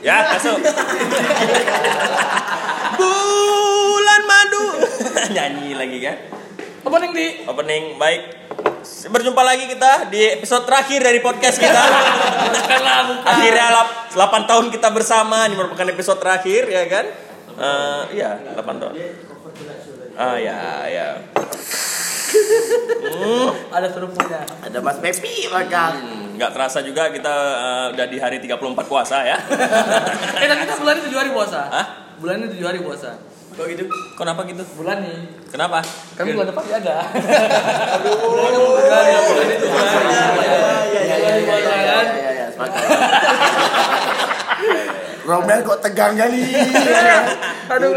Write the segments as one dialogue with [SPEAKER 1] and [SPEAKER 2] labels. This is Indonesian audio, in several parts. [SPEAKER 1] Ya, masuk. Bulan madu. Nyanyi lagi kan?
[SPEAKER 2] Opening di
[SPEAKER 1] Opening baik. Berjumpa lagi kita di episode terakhir dari podcast kita.
[SPEAKER 2] bukanlah bukan.
[SPEAKER 1] Akhirnya lap- 8 tahun kita bersama, ini merupakan episode terakhir ya kan? Eh, iya, 8 tahun. Ah ya, ya.
[SPEAKER 2] Ada seruputnya.
[SPEAKER 3] Ada Mas Pepi belakang.
[SPEAKER 1] Hmm, Nggak terasa juga kita eh, udah di hari 34 puasa ya.
[SPEAKER 2] Eh tapi kita bulan ini tujuh hari puasa.
[SPEAKER 1] Hah?
[SPEAKER 2] Bulan ini tujuh hari puasa.
[SPEAKER 3] Kok gitu?
[SPEAKER 1] Kenapa gitu?
[SPEAKER 2] Bulan nih.
[SPEAKER 1] Kenapa?
[SPEAKER 2] Kan bulan depan ya ada. Aduh. Bulan ini bulan ini tujuh hari.
[SPEAKER 3] Iya iya iya iya iya iya iya iya sepakat. Romel kok tegang kali. iya,
[SPEAKER 2] Aduh.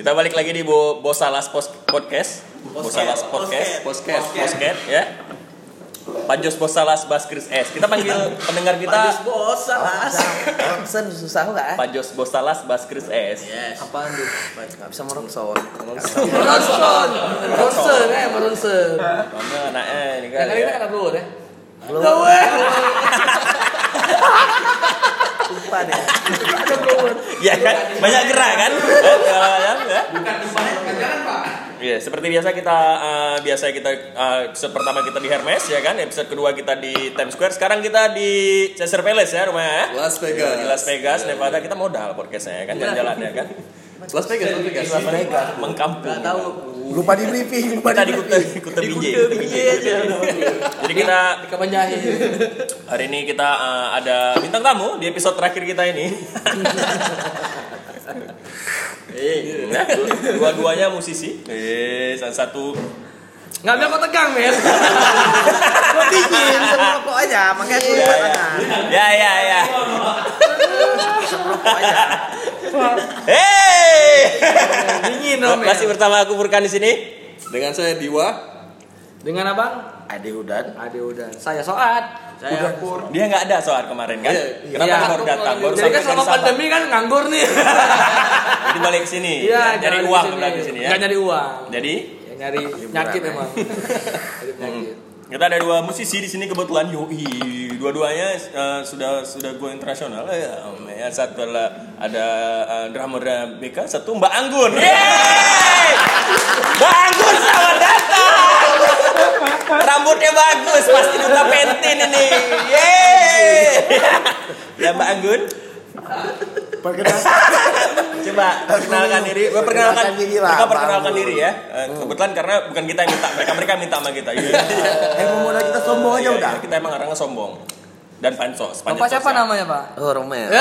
[SPEAKER 1] Kita balik lagi di Bo Bosalas Pos Podcast. Bosalas Podcast. Podcast. Podcast ya. Panjos Bosalas Baskris S. Kita panggil pendengar kita
[SPEAKER 3] bos salah. Sen Oh, susah eh? lah.
[SPEAKER 1] Panjos Bosalas Baskris S.
[SPEAKER 3] Yes.
[SPEAKER 2] Apaan tuh?
[SPEAKER 3] Gak bisa merokson.
[SPEAKER 2] Bronson. Bronson eh Bronson.
[SPEAKER 1] Mana nah eh ini
[SPEAKER 2] Yang
[SPEAKER 1] kan.
[SPEAKER 2] kali ini
[SPEAKER 1] ya.
[SPEAKER 2] kata dulu deh. eh.
[SPEAKER 3] Belum. Sumpah deh.
[SPEAKER 1] Ya kan? Banyak gerak kan? Eh, ya, ya, ya. Iya, seperti biasa kita eh, biasa kita eh, episode pertama kita di Hermes ya kan, episode kedua kita di Times Square, sekarang kita di Caesar Palace ya rumahnya ya.
[SPEAKER 4] Las Vegas. Iya.
[SPEAKER 1] Di Las Vegas, Nevada kita modal podcastnya ya kan, jalan-jalan ya kan.
[SPEAKER 4] Las Vegas, Las Vegas.
[SPEAKER 1] Las Vegas Iya, mengkampung.
[SPEAKER 2] Gak tahu.
[SPEAKER 3] Lupa di briefing, lupa
[SPEAKER 1] Kita
[SPEAKER 3] di
[SPEAKER 1] di Kuta Kuta Binjai. Kuta Binjai. Jadi kita
[SPEAKER 2] Di Iya, Kapan Jahe.
[SPEAKER 1] hari ini kita eh, ada bintang tamu di episode terakhir kita ini. Eh, nah, dua-duanya musisi. Eh, salah satu
[SPEAKER 2] Ngambil kok tegang, men.
[SPEAKER 3] Kok dingin sama rokok aja, makanya aku
[SPEAKER 1] ya ya.
[SPEAKER 3] lupa
[SPEAKER 5] Iya.
[SPEAKER 3] tangan.
[SPEAKER 1] Ya ya ya.
[SPEAKER 3] Rokok aja.
[SPEAKER 1] Hey!
[SPEAKER 2] Dingin dong, men.
[SPEAKER 1] Masih bersama aku Furkan di sini.
[SPEAKER 4] Dengan saya Diwa.
[SPEAKER 2] Dengan abang
[SPEAKER 3] Ade Hudan.
[SPEAKER 2] Ade udah. Saya Soat.
[SPEAKER 3] Saya
[SPEAKER 1] Dia nggak ada soal kemarin kan?
[SPEAKER 4] Iya, iya.
[SPEAKER 1] Kenapa
[SPEAKER 2] Iya.
[SPEAKER 1] baru datang? Baru
[SPEAKER 2] Jadi kan
[SPEAKER 1] sampai
[SPEAKER 2] selama
[SPEAKER 1] dari Sabah.
[SPEAKER 2] pandemi kan nganggur nih. Iya,
[SPEAKER 1] Jadi balik ke sini. Cari
[SPEAKER 2] jalan
[SPEAKER 1] uang
[SPEAKER 2] kesini.
[SPEAKER 1] berarti di sini ya. Iya.
[SPEAKER 2] Nggak nyari uang.
[SPEAKER 1] Jadi
[SPEAKER 2] Ya, nyari penyakit emang. Nyari penyakit.
[SPEAKER 1] kita ada dua musisi di sini kebetulan yoi dua-duanya eh, sudah sudah go internasional Eh, um, ya satu adalah ada eh, drummer BK satu Mbak Anggun Yeay! Mbak Anggun selamat datang rambutnya bagus pasti duta pentin ini Yeay! ya Mbak Anggun
[SPEAKER 3] perkenalkan
[SPEAKER 1] coba perkenalkan diri Eh, perkenalkan
[SPEAKER 3] Perkenalkan diri lah,
[SPEAKER 1] mereka
[SPEAKER 3] Mbak
[SPEAKER 1] perkenalkan
[SPEAKER 3] Anggun.
[SPEAKER 1] diri ya Eh, kebetulan karena bukan kita yang minta mereka mereka minta sama kita Yeay.
[SPEAKER 3] emang modal kita
[SPEAKER 4] Oh,
[SPEAKER 3] sombong aja
[SPEAKER 4] ya
[SPEAKER 1] Iya,
[SPEAKER 3] udah.
[SPEAKER 1] iya, Kita emang orangnya sombong. Dan pansos.
[SPEAKER 2] Bapak
[SPEAKER 1] pansos
[SPEAKER 2] siapa
[SPEAKER 1] ya.
[SPEAKER 2] namanya, Pak?
[SPEAKER 3] Oh, Romel.
[SPEAKER 1] Eh?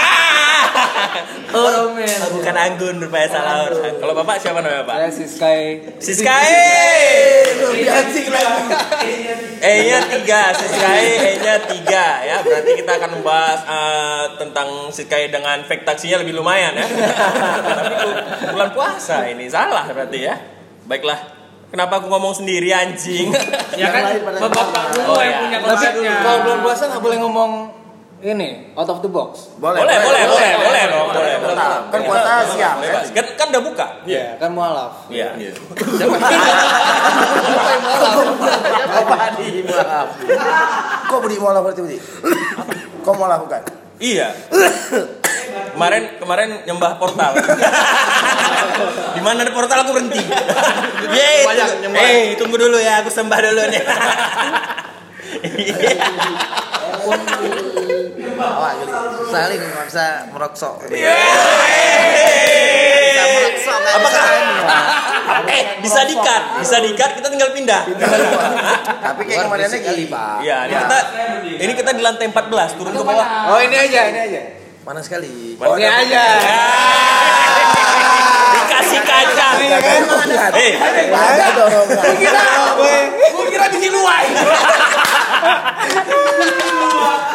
[SPEAKER 2] Oh, Romen.
[SPEAKER 1] Ah, Bukan Anggun rupanya salah orang. Kalau bapak siapa namanya pak?
[SPEAKER 2] Saya si Sky.
[SPEAKER 1] Siskae.
[SPEAKER 3] Eh, Anjing lagi.
[SPEAKER 1] E-nya tiga, Siskae E-nya tiga ya. Berarti kita akan membahas eh, tentang Siskae dengan faktaksinya lebih lumayan ya. Tapi bu- bulan puasa ini salah berarti ya. Baiklah. Kenapa aku ngomong sendiri anjing?
[SPEAKER 2] Ya
[SPEAKER 3] Yang
[SPEAKER 2] kan,
[SPEAKER 3] lain pada
[SPEAKER 2] bapak
[SPEAKER 3] sama.
[SPEAKER 2] gua
[SPEAKER 1] Oh,
[SPEAKER 2] yang
[SPEAKER 1] iya.
[SPEAKER 2] punya
[SPEAKER 5] Tapi
[SPEAKER 2] konsepnya.
[SPEAKER 5] kalau belum puasa nggak boleh ngomong ini out of the box.
[SPEAKER 3] Boleh,
[SPEAKER 1] boleh, boleh, boleh,
[SPEAKER 2] boleh,
[SPEAKER 1] boleh,
[SPEAKER 2] boleh,
[SPEAKER 1] dong, boleh, boleh.
[SPEAKER 3] Kan puasa siang
[SPEAKER 1] Boleh,
[SPEAKER 3] kan.
[SPEAKER 1] Pak. kan, kan udah buka.
[SPEAKER 5] Iya. Kan mualaf.
[SPEAKER 1] Iya.
[SPEAKER 5] Apa yang mualaf?
[SPEAKER 3] Apa di maaf. Kok beri mola berarti budi? Kok mola bukan?
[SPEAKER 1] Iya. kemarin kemarin nyembah portal. Di mana ada portal aku berhenti. Yeay.
[SPEAKER 4] Banyak
[SPEAKER 1] tunggu-
[SPEAKER 4] nyembah.
[SPEAKER 1] Eh, tunggu dulu ya, aku sembah dulu nih. Iya.
[SPEAKER 3] Awak geli. Saling nggak bisa merokok. Bisa merokok nggak bisa
[SPEAKER 1] eh, bisa dikat, bisa dikat kita tinggal pindah.
[SPEAKER 3] Tapi kayak kemarin lagi. Pak.
[SPEAKER 1] Iya, ini kita ini kita di lantai 14 turun ke bawah.
[SPEAKER 5] Oh ini aja, ini aja.
[SPEAKER 3] Panas sekali.
[SPEAKER 1] Panas.
[SPEAKER 5] Ini aja.
[SPEAKER 1] Ya. Dikasih kaca. Eh,
[SPEAKER 3] Ada dong.
[SPEAKER 2] Gua kira di Ciluai.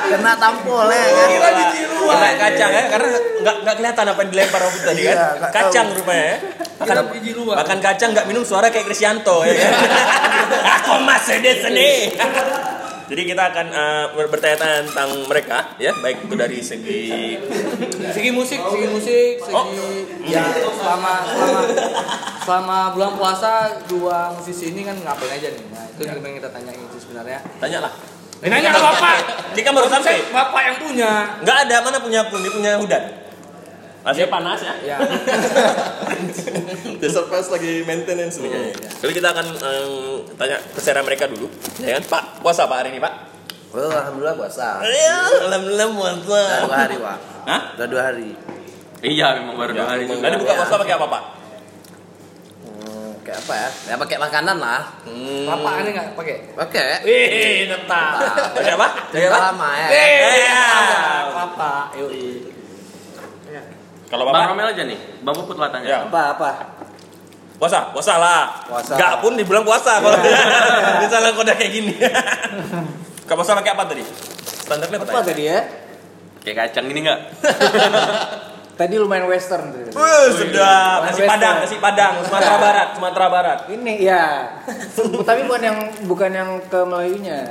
[SPEAKER 3] Kena tampol ya kan.
[SPEAKER 2] Kira di Ciluai.
[SPEAKER 1] Kena kacang ya, karena nggak nggak kelihatan apa yang dilempar waktu tadi kan.
[SPEAKER 3] Iya, nggak tahu. Iya.
[SPEAKER 1] Kacang rupanya. ya. Makan,
[SPEAKER 2] Kira biji luar.
[SPEAKER 1] makan kacang nggak minum suara kayak Krisyanto ya kan. Aku masih di sini. Jadi kita akan eh, ber- bertanya tentang mereka ya, baik itu dari segi
[SPEAKER 2] Segi musik, segi musik, segi ya selama selama selama bulan puasa dua musisi Iya. ini kan ngapain aja nih. Nah, itu yang kita tanyain sih sebenarnya.
[SPEAKER 1] tanyalah.
[SPEAKER 2] Eh, nanya ke bapak.
[SPEAKER 1] Dia kan baru
[SPEAKER 2] Maksud saya,
[SPEAKER 1] sampai.
[SPEAKER 2] Bapak yang punya.
[SPEAKER 1] Nggak ada mana punya pun, dia punya hudan. Masih panas ya.
[SPEAKER 2] Ya.
[SPEAKER 4] Desert Pass lagi maintenance nih kayaknya.
[SPEAKER 1] Hmm. Jadi kita akan em, tanya keseharian mereka dulu. Ya kan, Pak? Puasa Pak hari ini, Pak?
[SPEAKER 3] Oh, alhamdulillah puasa.
[SPEAKER 1] Iya, alhamdulillah puasa.
[SPEAKER 3] Udah dua hari, Pak.
[SPEAKER 1] Hah?
[SPEAKER 3] Udah dua hari.
[SPEAKER 1] Iya, memang baru dua hari
[SPEAKER 4] juga.
[SPEAKER 1] Tadi buka puasa pakai apa, Pak?
[SPEAKER 3] Hmm, kayak apa ya? Ya pakai makanan lah.
[SPEAKER 1] Hmm.
[SPEAKER 2] Bapak aneh nggak pakai?
[SPEAKER 3] Pakai.
[SPEAKER 1] Wih, tetap. Pakai apa? Pakai apa?
[SPEAKER 3] Cerita lama ya.
[SPEAKER 1] Iya.
[SPEAKER 2] Bapak, yoi. Iya.
[SPEAKER 1] Kalau
[SPEAKER 6] Bang
[SPEAKER 1] Bapak
[SPEAKER 6] Romel aja nih, Bang Puput lah tanya.
[SPEAKER 1] Ya.
[SPEAKER 5] Apa apa?
[SPEAKER 1] puasa, puasa Iya. lah.
[SPEAKER 3] Puasa.
[SPEAKER 1] Nggak pun dibilang puasa kalau misalnya kode kayak gini. Kamu puasa pakai apa tadi? Standarnya apa
[SPEAKER 5] Apa
[SPEAKER 1] tadi?
[SPEAKER 5] tadi ya?
[SPEAKER 6] Kayak kacang ini enggak?
[SPEAKER 5] Tadi lumayan western tuh.
[SPEAKER 1] Wih, sedap.
[SPEAKER 5] Western.
[SPEAKER 1] Nasi Padang, nasi Padang, Sumatera Barat, Sumatera Barat.
[SPEAKER 5] Ini
[SPEAKER 2] iya.
[SPEAKER 5] ya. Tapi bukan yang bukan yang ke Melayunya.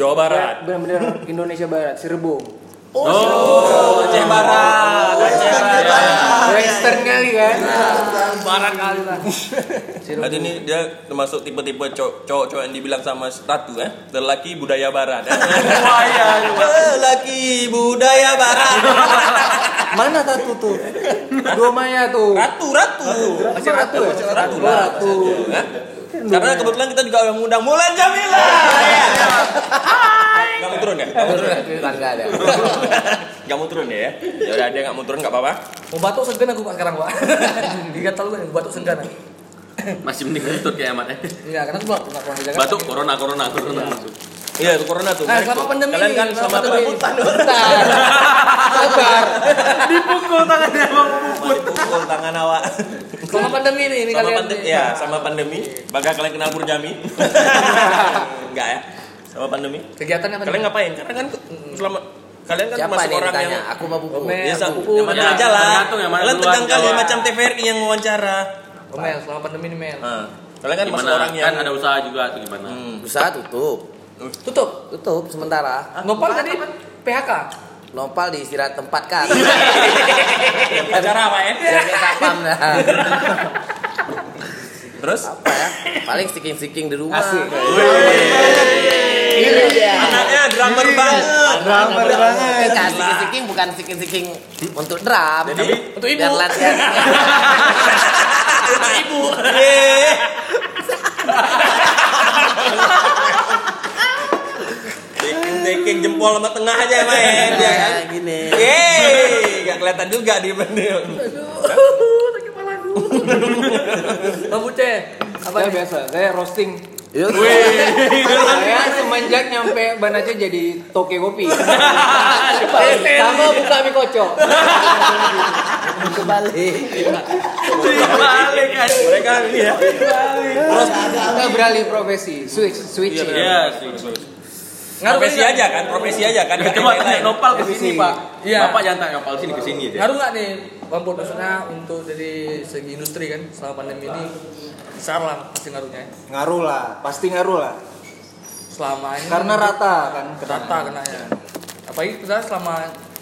[SPEAKER 1] Jawa Barat.
[SPEAKER 5] Benar-benar Ya, Indonesia Barat, Cirebon.
[SPEAKER 1] Oh, Aceh Barat,
[SPEAKER 2] Ya,
[SPEAKER 1] Iya. Aceh Barat.
[SPEAKER 5] Western kali kan?
[SPEAKER 1] Barat kali.
[SPEAKER 5] Cirebon.
[SPEAKER 1] Berarti ini dia termasuk tipe-tipe cow- cowok-cowok yang dibilang sama Ratu ya, lelaki budaya barat. ya. iya. Lelaki budaya barat.
[SPEAKER 5] Mana satu tuh? Dua Maya tuh.
[SPEAKER 1] Ratu, ratu.
[SPEAKER 5] Masih ratu ya?
[SPEAKER 1] Ratu,
[SPEAKER 5] Ratu.
[SPEAKER 1] Ya. Karena kebetulan kita juga mengundang Mulan Jamila. Gak Iya. mau turun ya? Gak mau turun ya?
[SPEAKER 3] Tangga ada.
[SPEAKER 1] Gak mau turun ya? ya? Ya udah dia gak mau turun gak apa-apa.
[SPEAKER 2] Mau batuk segan aku Pak, sekarang, Pak. Digatal gue nih, batuk segan. aku.
[SPEAKER 6] Masih mending kentut kayak amat
[SPEAKER 1] eh.
[SPEAKER 6] ya.
[SPEAKER 2] Iya, karena aku nggak pernah dijaga.
[SPEAKER 6] Batuk corona corona corona.
[SPEAKER 1] Iya, itu corona tuh.
[SPEAKER 2] Nah, selama pandemi
[SPEAKER 1] Kalian kan
[SPEAKER 2] ini,
[SPEAKER 1] sama
[SPEAKER 2] selama pandemi.
[SPEAKER 1] perebutan.
[SPEAKER 2] Bentar. Sabar.
[SPEAKER 1] Pukul tangan awak.
[SPEAKER 2] Selama pandemi nih, ini
[SPEAKER 1] sama
[SPEAKER 2] kalian.
[SPEAKER 1] pandemi
[SPEAKER 2] nih.
[SPEAKER 1] ya sama pandemi bakal kalian kenal Purjami enggak ya sama pandemi
[SPEAKER 2] Kegiatan apa?
[SPEAKER 1] kalian ngapain karena kan selama kalian kan
[SPEAKER 3] Siapa
[SPEAKER 1] masuk
[SPEAKER 3] nih
[SPEAKER 1] orang yang
[SPEAKER 3] ditanya? Aku mau buku.
[SPEAKER 2] Komen.
[SPEAKER 1] ya
[SPEAKER 2] Aku.
[SPEAKER 1] satu yang mana
[SPEAKER 6] Ya,
[SPEAKER 1] aja lah
[SPEAKER 6] tergantung yang mana
[SPEAKER 1] kalian
[SPEAKER 6] duluan,
[SPEAKER 1] tegang kali
[SPEAKER 6] jawab.
[SPEAKER 1] macam TVRI yang wawancara
[SPEAKER 2] Oh, Mel, selama pandemi nih, Mel.
[SPEAKER 1] Nah, kalian kan masuk
[SPEAKER 6] Gimana?
[SPEAKER 1] orang yang
[SPEAKER 6] Kan ada usaha juga atau gimana?
[SPEAKER 1] Hmm.
[SPEAKER 3] Usaha tutup.
[SPEAKER 2] Tutup.
[SPEAKER 3] Tutup sementara.
[SPEAKER 2] Nopal tadi PHK.
[SPEAKER 3] Nopal di istirahat tempat kan.
[SPEAKER 1] wawancara apa ya
[SPEAKER 6] Iya.
[SPEAKER 3] Jangan kayak satpam dah. ya?
[SPEAKER 1] terus
[SPEAKER 3] Apa ya? Paling stiking-stiking di rumah. Iya.
[SPEAKER 5] Asik.
[SPEAKER 1] anaknya drummer
[SPEAKER 6] Iya.
[SPEAKER 1] banget
[SPEAKER 5] Drummer banget.
[SPEAKER 3] Enggak, siking-siking Eh, kan bukan siking-siking untuk drum.
[SPEAKER 1] Jadi,
[SPEAKER 2] untuk ibu.
[SPEAKER 3] Biar latihan.
[SPEAKER 1] ibu Yeay. Teking-teking jempol sama tengah aja main ya kan
[SPEAKER 3] Kayak iya, gitu. gini.
[SPEAKER 1] Yeay, gak kelihatan juga di menu.
[SPEAKER 2] Bambu teh. Apa
[SPEAKER 5] Saya
[SPEAKER 2] nih?
[SPEAKER 5] biasa, saya roasting.
[SPEAKER 3] Yuk.
[SPEAKER 5] Saya semenjak nyampe Ban Aceh jadi toke kopi. Sama buka mie kocok.
[SPEAKER 6] Iya,
[SPEAKER 1] Balik kan. Mereka ini ya.
[SPEAKER 5] Saya beralih profesi, switch, switching.
[SPEAKER 6] Iya sih.
[SPEAKER 2] Ngaruh
[SPEAKER 1] Profesi
[SPEAKER 2] nggak?
[SPEAKER 1] aja kan, profesi aja kan. Gak
[SPEAKER 6] Coba
[SPEAKER 1] kayak
[SPEAKER 6] tanya
[SPEAKER 1] lain.
[SPEAKER 6] Nopal ke sini, Pak.
[SPEAKER 2] Iya.
[SPEAKER 6] Bapak jangan tanya Nopal sini ke sini deh.
[SPEAKER 2] Ngaruh nggak nih Bambu maksudnya untuk dari segi industri kan selama pandemi ini besar lah pasti ngaruhnya. ya.
[SPEAKER 5] Ngaruh lah, pasti ngaruh lah.
[SPEAKER 2] Selama ini
[SPEAKER 5] Karena rata kan.
[SPEAKER 2] rata kena ya. Apalagi kita selama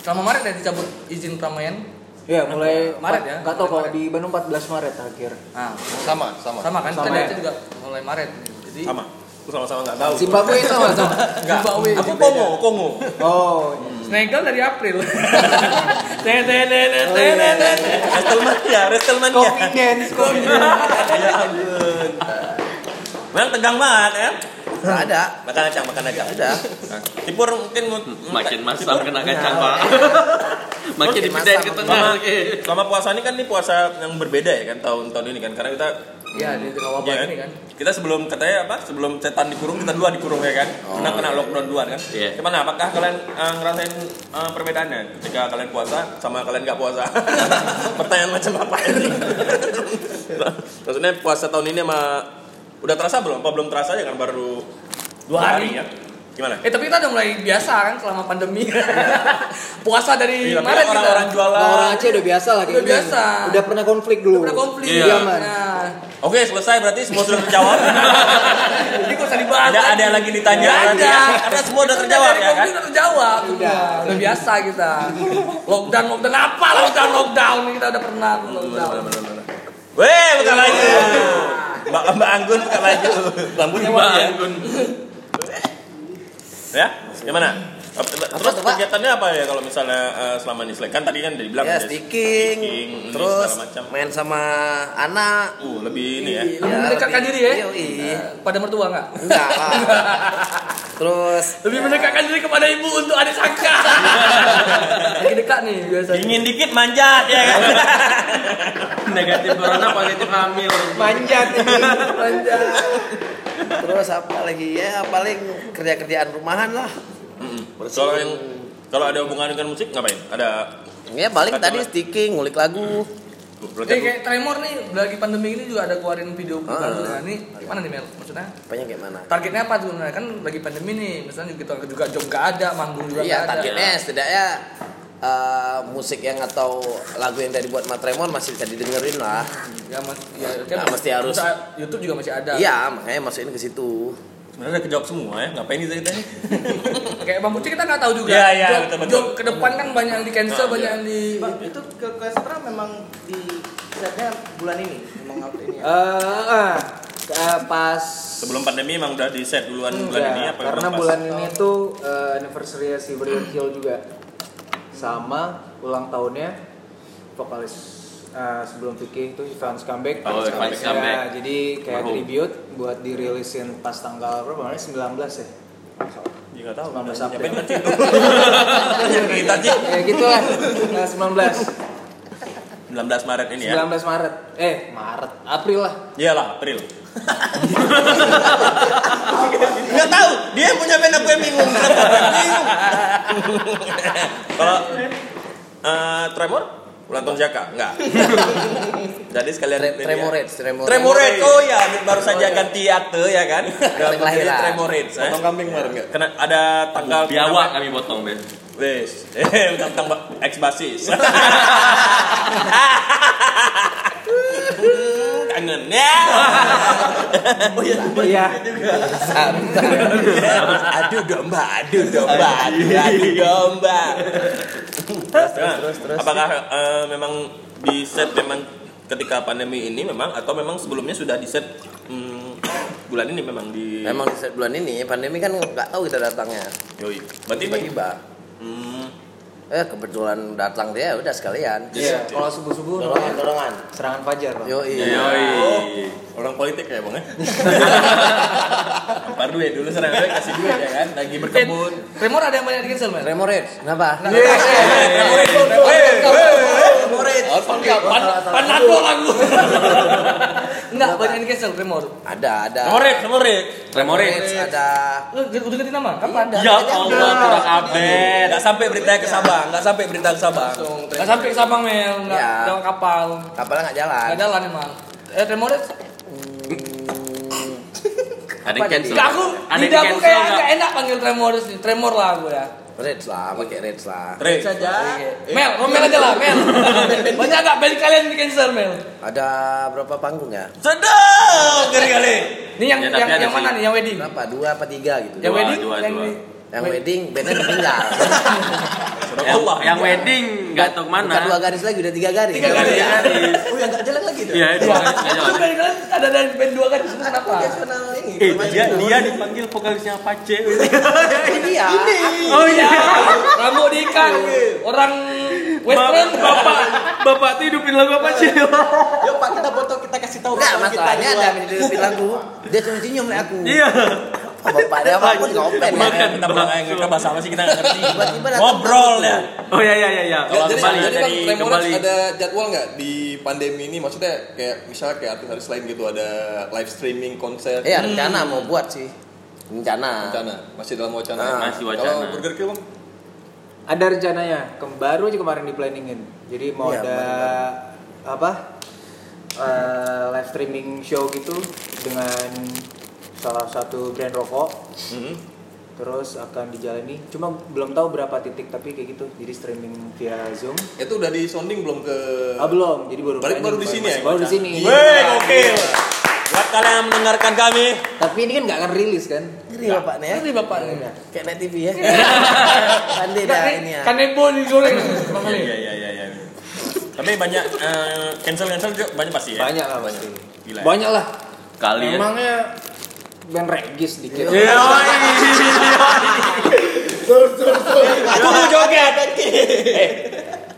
[SPEAKER 2] selama Maret ya dicabut izin keramaian.
[SPEAKER 5] Ya, mulai
[SPEAKER 2] Maret ya?
[SPEAKER 5] Enggak tahu kalau
[SPEAKER 2] Maret.
[SPEAKER 5] di Bandung 14 Maret akhir.
[SPEAKER 2] Nah,
[SPEAKER 4] Sama, sama.
[SPEAKER 2] sama kan
[SPEAKER 5] Sama
[SPEAKER 2] tadi
[SPEAKER 5] ya?
[SPEAKER 2] aja juga mulai Maret. Jadi
[SPEAKER 1] Sama. Aku sama-sama enggak tahu.
[SPEAKER 5] Zimbabwe sama sama.
[SPEAKER 2] Zimbabwe.
[SPEAKER 1] Aku Kongo, Kongo.
[SPEAKER 5] Oh,
[SPEAKER 2] Snagel dari April.
[SPEAKER 1] Iya, Wrestlemania,
[SPEAKER 2] Oh,
[SPEAKER 1] Wrestlemania.
[SPEAKER 2] iya, kan?
[SPEAKER 5] coffee dance, coffee dance.
[SPEAKER 1] Ya ampun. Memang tegang banget ya.
[SPEAKER 3] Nggak ada.
[SPEAKER 1] Makan aja, makan aja.
[SPEAKER 3] Udah.
[SPEAKER 1] Tipur mungkin mau
[SPEAKER 6] Makin masam kena kacang, Pak. Makin
[SPEAKER 3] Makin
[SPEAKER 6] dipindahin
[SPEAKER 3] masam.
[SPEAKER 6] ke tengah.
[SPEAKER 1] Selama puasa ini kan ini puasa yang berbeda ya kan tahun-tahun ini kan karena kita
[SPEAKER 2] Iya, di tengah wabah
[SPEAKER 1] ya kan?
[SPEAKER 2] ini kan.
[SPEAKER 1] Kita sebelum katanya apa? Sebelum setan dikurung kita dua dikurung ya kan? Pernah kena lockdown duluan kan?
[SPEAKER 6] Iya.
[SPEAKER 1] Gimana? Apakah kalian eh, ngerasain eh, perbedaannya ketika kalian puasa sama kalian nggak puasa? Pertanyaan macam apa ini? Maksudnya puasa tahun ini sama udah terasa belum? Apa belum terasa ya kan baru dua hari ya? Gimana?
[SPEAKER 2] Eh tapi kita udah mulai biasa kan selama pandemi. Puasa dari
[SPEAKER 1] Gila,
[SPEAKER 2] Maret kita.
[SPEAKER 1] Iya, orang-orang jualan.
[SPEAKER 5] Orang Aceh udah biasa lah kayak
[SPEAKER 2] Udah
[SPEAKER 3] gitu.
[SPEAKER 5] gini.
[SPEAKER 2] biasa.
[SPEAKER 5] Udah pernah konflik dulu.
[SPEAKER 2] Udah konflik.
[SPEAKER 6] Iya.
[SPEAKER 5] Mas.
[SPEAKER 2] Nah,
[SPEAKER 1] Oke, selesai berarti semua sudah terjawab.
[SPEAKER 2] jadi gak usah dibahas.
[SPEAKER 1] ada ada yang lagi ditanya
[SPEAKER 2] Nggak
[SPEAKER 1] berarti
[SPEAKER 2] ada.
[SPEAKER 1] ya? Karena semua udah terjawab
[SPEAKER 2] Dari
[SPEAKER 1] ya kan?
[SPEAKER 2] konflik udah terjawab.
[SPEAKER 5] Udah.
[SPEAKER 2] Udah. Udah biasa kita. Lockdown, lockdown apa? Lockdown, lockdown kita udah pernah
[SPEAKER 1] Iya,
[SPEAKER 2] lockdown.
[SPEAKER 1] Weh, buka lagi. Mbak Mbak Anggun buka lagi. Rambutnya
[SPEAKER 6] Bang, Gun.
[SPEAKER 1] ya gimana terus
[SPEAKER 3] tuh, Pak?
[SPEAKER 1] kegiatannya apa ya kalau misalnya eh, selama ini Slack? kan tadi kan udah dibilang
[SPEAKER 3] Ya,
[SPEAKER 1] ada
[SPEAKER 3] sticking,
[SPEAKER 1] sticking, ini
[SPEAKER 3] terus
[SPEAKER 1] segala macam.
[SPEAKER 3] main sama anak.
[SPEAKER 1] uh lebih ini ya
[SPEAKER 3] Iya,
[SPEAKER 2] Lebih mendekatkan
[SPEAKER 3] lebih-
[SPEAKER 2] diri ya.
[SPEAKER 3] Yoi.
[SPEAKER 2] Pada mertua nggak?
[SPEAKER 3] Enggak lah. Terus
[SPEAKER 2] Lebih mendekatkan diri kepada ibu untuk adik sangka. Lagi dekat nih biasanya.
[SPEAKER 1] dingin dikit manjat ya kan
[SPEAKER 6] Negatif corona positif hamil.
[SPEAKER 5] Manjat ini.
[SPEAKER 3] terus apa lagi ya paling kerja-kerjaan rumahan lah.
[SPEAKER 1] kalau yang kalau ada hubungan dengan musik ngapain ada
[SPEAKER 3] Ya paling
[SPEAKER 1] Kacau
[SPEAKER 3] tadi
[SPEAKER 1] lah.
[SPEAKER 3] sticking, ngulik lagu.
[SPEAKER 2] Eh
[SPEAKER 1] berarti
[SPEAKER 2] kayak Tremor nih lagi pandemi ini juga ada keluarin video baru. Nah, ini gimana nih Mel? Maksudnya
[SPEAKER 3] Apanya kayak mana?
[SPEAKER 2] targetnya apa tuh? Nah, kan lagi pandemi nih, misalnya kita juga job gak ada, manggung juga nggak
[SPEAKER 3] Iya
[SPEAKER 2] ada.
[SPEAKER 3] targetnya setidaknya eh, musik yang atau lagu yang tadi buat Matremon masih bisa didengerin lah.
[SPEAKER 2] Ya, mas- ya, kan
[SPEAKER 3] Nah, mesti harus.
[SPEAKER 2] kita- YouTube juga masih ada.
[SPEAKER 3] Iya makanya masukin ke situ.
[SPEAKER 1] sebenarnya udah kejawab semua ya ngapain kita kita ini?
[SPEAKER 2] Kayak Bang Putri kita nggak tahu juga.
[SPEAKER 1] Iya, iya,
[SPEAKER 2] Job-
[SPEAKER 1] betul, betul.
[SPEAKER 2] job ke depan kan banyak yang di cancel,
[SPEAKER 1] Nah,
[SPEAKER 2] banyak
[SPEAKER 1] iya.
[SPEAKER 2] yang di
[SPEAKER 7] Bang, itu ke Kestra memang di setnya bulan ini memang out ini ya.
[SPEAKER 5] Eh, eh, eh, pas
[SPEAKER 1] sebelum pandemi emang udah di set duluan bulan
[SPEAKER 5] Enggak,
[SPEAKER 1] ini apa
[SPEAKER 5] Iya, karena
[SPEAKER 1] pas?
[SPEAKER 5] bulan ini tuh eh, anniversary si Brian Hill juga sama ulang tahunnya vokalis eh, sebelum Vicky itu Ivan Comeback.
[SPEAKER 6] Oh, Ivan's
[SPEAKER 5] Ya,
[SPEAKER 6] Comeback.
[SPEAKER 5] jadi kayak
[SPEAKER 6] Marhum.
[SPEAKER 5] tribute buat dirilisin pas tanggal berapa? kemarin? 19 ya.
[SPEAKER 1] Ya, nggak tahu
[SPEAKER 5] 19
[SPEAKER 1] Nyampe
[SPEAKER 5] April.
[SPEAKER 1] nanti itu. cerita sih
[SPEAKER 5] ya gitulah. Nah, 19.
[SPEAKER 1] 19 Maret ini ya
[SPEAKER 5] 19 Maret. Eh, Maret, April lah.
[SPEAKER 1] Iyalah, April. Nggak tahu, dia yang punya band aku yang bingung. Kenapa aku yang bingung? Kalau eh, Tremor, ulang tahun Jaka, enggak. Jadi sekalian
[SPEAKER 3] Tre-
[SPEAKER 1] ini ya.
[SPEAKER 3] Tremorage, Tremorage.
[SPEAKER 1] Tremorage, oh ya, baru saja ganti akte ya kan. Udah
[SPEAKER 3] Akte kelahiran.
[SPEAKER 1] menjadi Tremorage. eh.
[SPEAKER 4] Potong kambing kemarin nggak?
[SPEAKER 1] Kena ada tanggal
[SPEAKER 6] Biawak kami potong Ben.
[SPEAKER 1] Wes, eh tentang ex basis. Kangen ya.
[SPEAKER 5] Iya.
[SPEAKER 1] Oh aduh domba, aduh domba, aduh, aduh domba. Nah, Apakah eh, memang di set memang ketika pandemi ini memang atau memang sebelumnya sudah di set hmm, bulan ini memang di
[SPEAKER 3] Memang di set bulan ini pandemi kan nggak tahu kita datangnya.
[SPEAKER 1] Yoi. Berarti ini
[SPEAKER 3] Tiba-tiba.
[SPEAKER 1] hmm,
[SPEAKER 3] Eh kebetulan datang dia ya udah sekalian.
[SPEAKER 5] Iya, kalau subuh-subuh
[SPEAKER 3] Dorongan,
[SPEAKER 5] namanya
[SPEAKER 3] dorongan.
[SPEAKER 5] serangan fajar, Bang.
[SPEAKER 3] Yo
[SPEAKER 1] ya.
[SPEAKER 3] iya.
[SPEAKER 6] Yoi.
[SPEAKER 1] orang politik ya bang ya. Lempar duit Oh, ya, dulu serang duit kasih duit ya kan lagi
[SPEAKER 2] Eh,
[SPEAKER 1] berkebun.
[SPEAKER 2] Tremor ada yang banyak di cancel, Mel?
[SPEAKER 3] Tremorage,
[SPEAKER 1] Iya.
[SPEAKER 3] kenapa?
[SPEAKER 1] Oh,
[SPEAKER 2] Panado lagu. Enggak, banyak yang di cancel Tremor.
[SPEAKER 3] Ada, ada.
[SPEAKER 1] Norit, norit.
[SPEAKER 3] Tremorage ada.
[SPEAKER 2] Lu udah ganti nama? Kapan?
[SPEAKER 3] Ada.
[SPEAKER 6] Ya Allah, kurang update.
[SPEAKER 1] Nggak sampai beritanya ke Sabang, nggak sampai berita ke Sabang.
[SPEAKER 2] Nggak sampai ke Sabang, Mel. Nggak
[SPEAKER 6] Ya.
[SPEAKER 3] Iya.
[SPEAKER 2] nggak kapal.
[SPEAKER 3] Kapalnya nggak jalan.
[SPEAKER 2] Nggak jalan emang. Eh, Tremor
[SPEAKER 6] Ada yang cancel.
[SPEAKER 2] Enggak, aku
[SPEAKER 6] Ada
[SPEAKER 2] lidah
[SPEAKER 6] yang
[SPEAKER 2] aku
[SPEAKER 6] cancel
[SPEAKER 2] kayak
[SPEAKER 6] nggak?
[SPEAKER 2] agak enak panggil Tremor sih. Tremor lah aku ya.
[SPEAKER 3] Rage lah, pakai rage lah.
[SPEAKER 1] Rit.
[SPEAKER 2] Mel, Romel aja lah, Mel. Banyak nggak band kalian di cancel, Mel?
[SPEAKER 3] Ada berapa panggung ya?
[SPEAKER 1] Sedang kali kali.
[SPEAKER 2] Ini yang
[SPEAKER 6] Ya, tapi
[SPEAKER 2] yang,
[SPEAKER 6] ada
[SPEAKER 2] yang
[SPEAKER 6] sih.
[SPEAKER 2] mana nih? Yang wedding?
[SPEAKER 3] Berapa? Dua apa tiga gitu.
[SPEAKER 2] Yang
[SPEAKER 6] Dua,
[SPEAKER 2] wedding?
[SPEAKER 6] dua,
[SPEAKER 2] yang
[SPEAKER 6] dua.
[SPEAKER 2] di-
[SPEAKER 3] Yang wedding, bandnya meninggal.
[SPEAKER 6] Yang,
[SPEAKER 1] Ya Allah.
[SPEAKER 6] yang wedding nggak tahu
[SPEAKER 3] Bukan dua
[SPEAKER 6] mana.
[SPEAKER 3] garis lagi, udah tiga garis.
[SPEAKER 2] Tiga garis.
[SPEAKER 6] Iya,
[SPEAKER 7] Oh yang nggak jalan lagi tuh.
[SPEAKER 6] Iya, dua.
[SPEAKER 2] Itu band kalian ada dari band dua kan? Itu Kenapa?
[SPEAKER 7] Nasional ini.
[SPEAKER 6] Eh, dia dia dipanggil vokalisnya Pace.
[SPEAKER 3] Iya.
[SPEAKER 6] Oh iya.
[SPEAKER 2] Rambut diikat. Orang Western.
[SPEAKER 6] Bapak, bapak tuh hidupin lagu apa sih?
[SPEAKER 7] Yuk Pak kita foto kita kasih tahu.
[SPEAKER 3] Enggak,
[SPEAKER 7] kalau kita
[SPEAKER 3] masalahnya
[SPEAKER 7] jual.
[SPEAKER 3] ada yang didupin lagu. Dia cuma senyum liat aku.
[SPEAKER 6] Iya.
[SPEAKER 3] Oh, Bapaknya apa pun ngopen ya.
[SPEAKER 1] Makan kita bilang aja kita bahasa apa sih kita nggak ngerti.
[SPEAKER 3] Tiba-tiba datang
[SPEAKER 1] Ngobrol ya.
[SPEAKER 6] Oh iya iya iya. iya. Kalau
[SPEAKER 4] jadi,
[SPEAKER 6] kembali
[SPEAKER 4] jadi
[SPEAKER 6] dari
[SPEAKER 4] Bang Tremorage
[SPEAKER 6] kembali.
[SPEAKER 4] ada jadwal nggak di pandemi ini? Maksudnya kayak misalnya kayak artis-artis lain gitu ada live streaming konser.
[SPEAKER 1] Eh.
[SPEAKER 3] Iya, rencana mau buat sih. Rencana.
[SPEAKER 4] Wacana, masih dalam wacana.
[SPEAKER 3] Ah,
[SPEAKER 6] masih wacana.
[SPEAKER 4] Kalau Burger Kill Bang,
[SPEAKER 5] Ada rencananya, kem- baru aja kemarin di planningin. Jadi mau
[SPEAKER 3] Iya,
[SPEAKER 5] ada apa? eh, live streaming show gitu dengan salah satu brand rokok. Terus akan dijalani. Cuma belum tahu berapa titik tapi kayak gitu. Jadi streaming via Zoom.
[SPEAKER 4] itu udah di sounding belum ke
[SPEAKER 5] Ah belum, jadi baru
[SPEAKER 4] Baru- baru di sini ya? Iya.
[SPEAKER 5] Baru di sini. Nah,
[SPEAKER 1] Weh, oke. Buat kalian yang mendengarkan kami,
[SPEAKER 5] Tapi ini kan nggak akan rilis kan?
[SPEAKER 3] Ngeri bapaknya ya.
[SPEAKER 2] Ini bapak ini.
[SPEAKER 3] Kayak net TV ya. Pandai dah ini ya.
[SPEAKER 2] Kanebo digoreng. Bang Ali.
[SPEAKER 1] Iya iya iya iya. Tapi banyak cancel cancel banyak pasti ya.
[SPEAKER 5] Banyak lah pasti.
[SPEAKER 1] Gila ya?
[SPEAKER 5] Banyak lah.
[SPEAKER 6] Kalian
[SPEAKER 5] Emangnya band regis dikit.
[SPEAKER 1] Iya. Aku mau joget. Eh,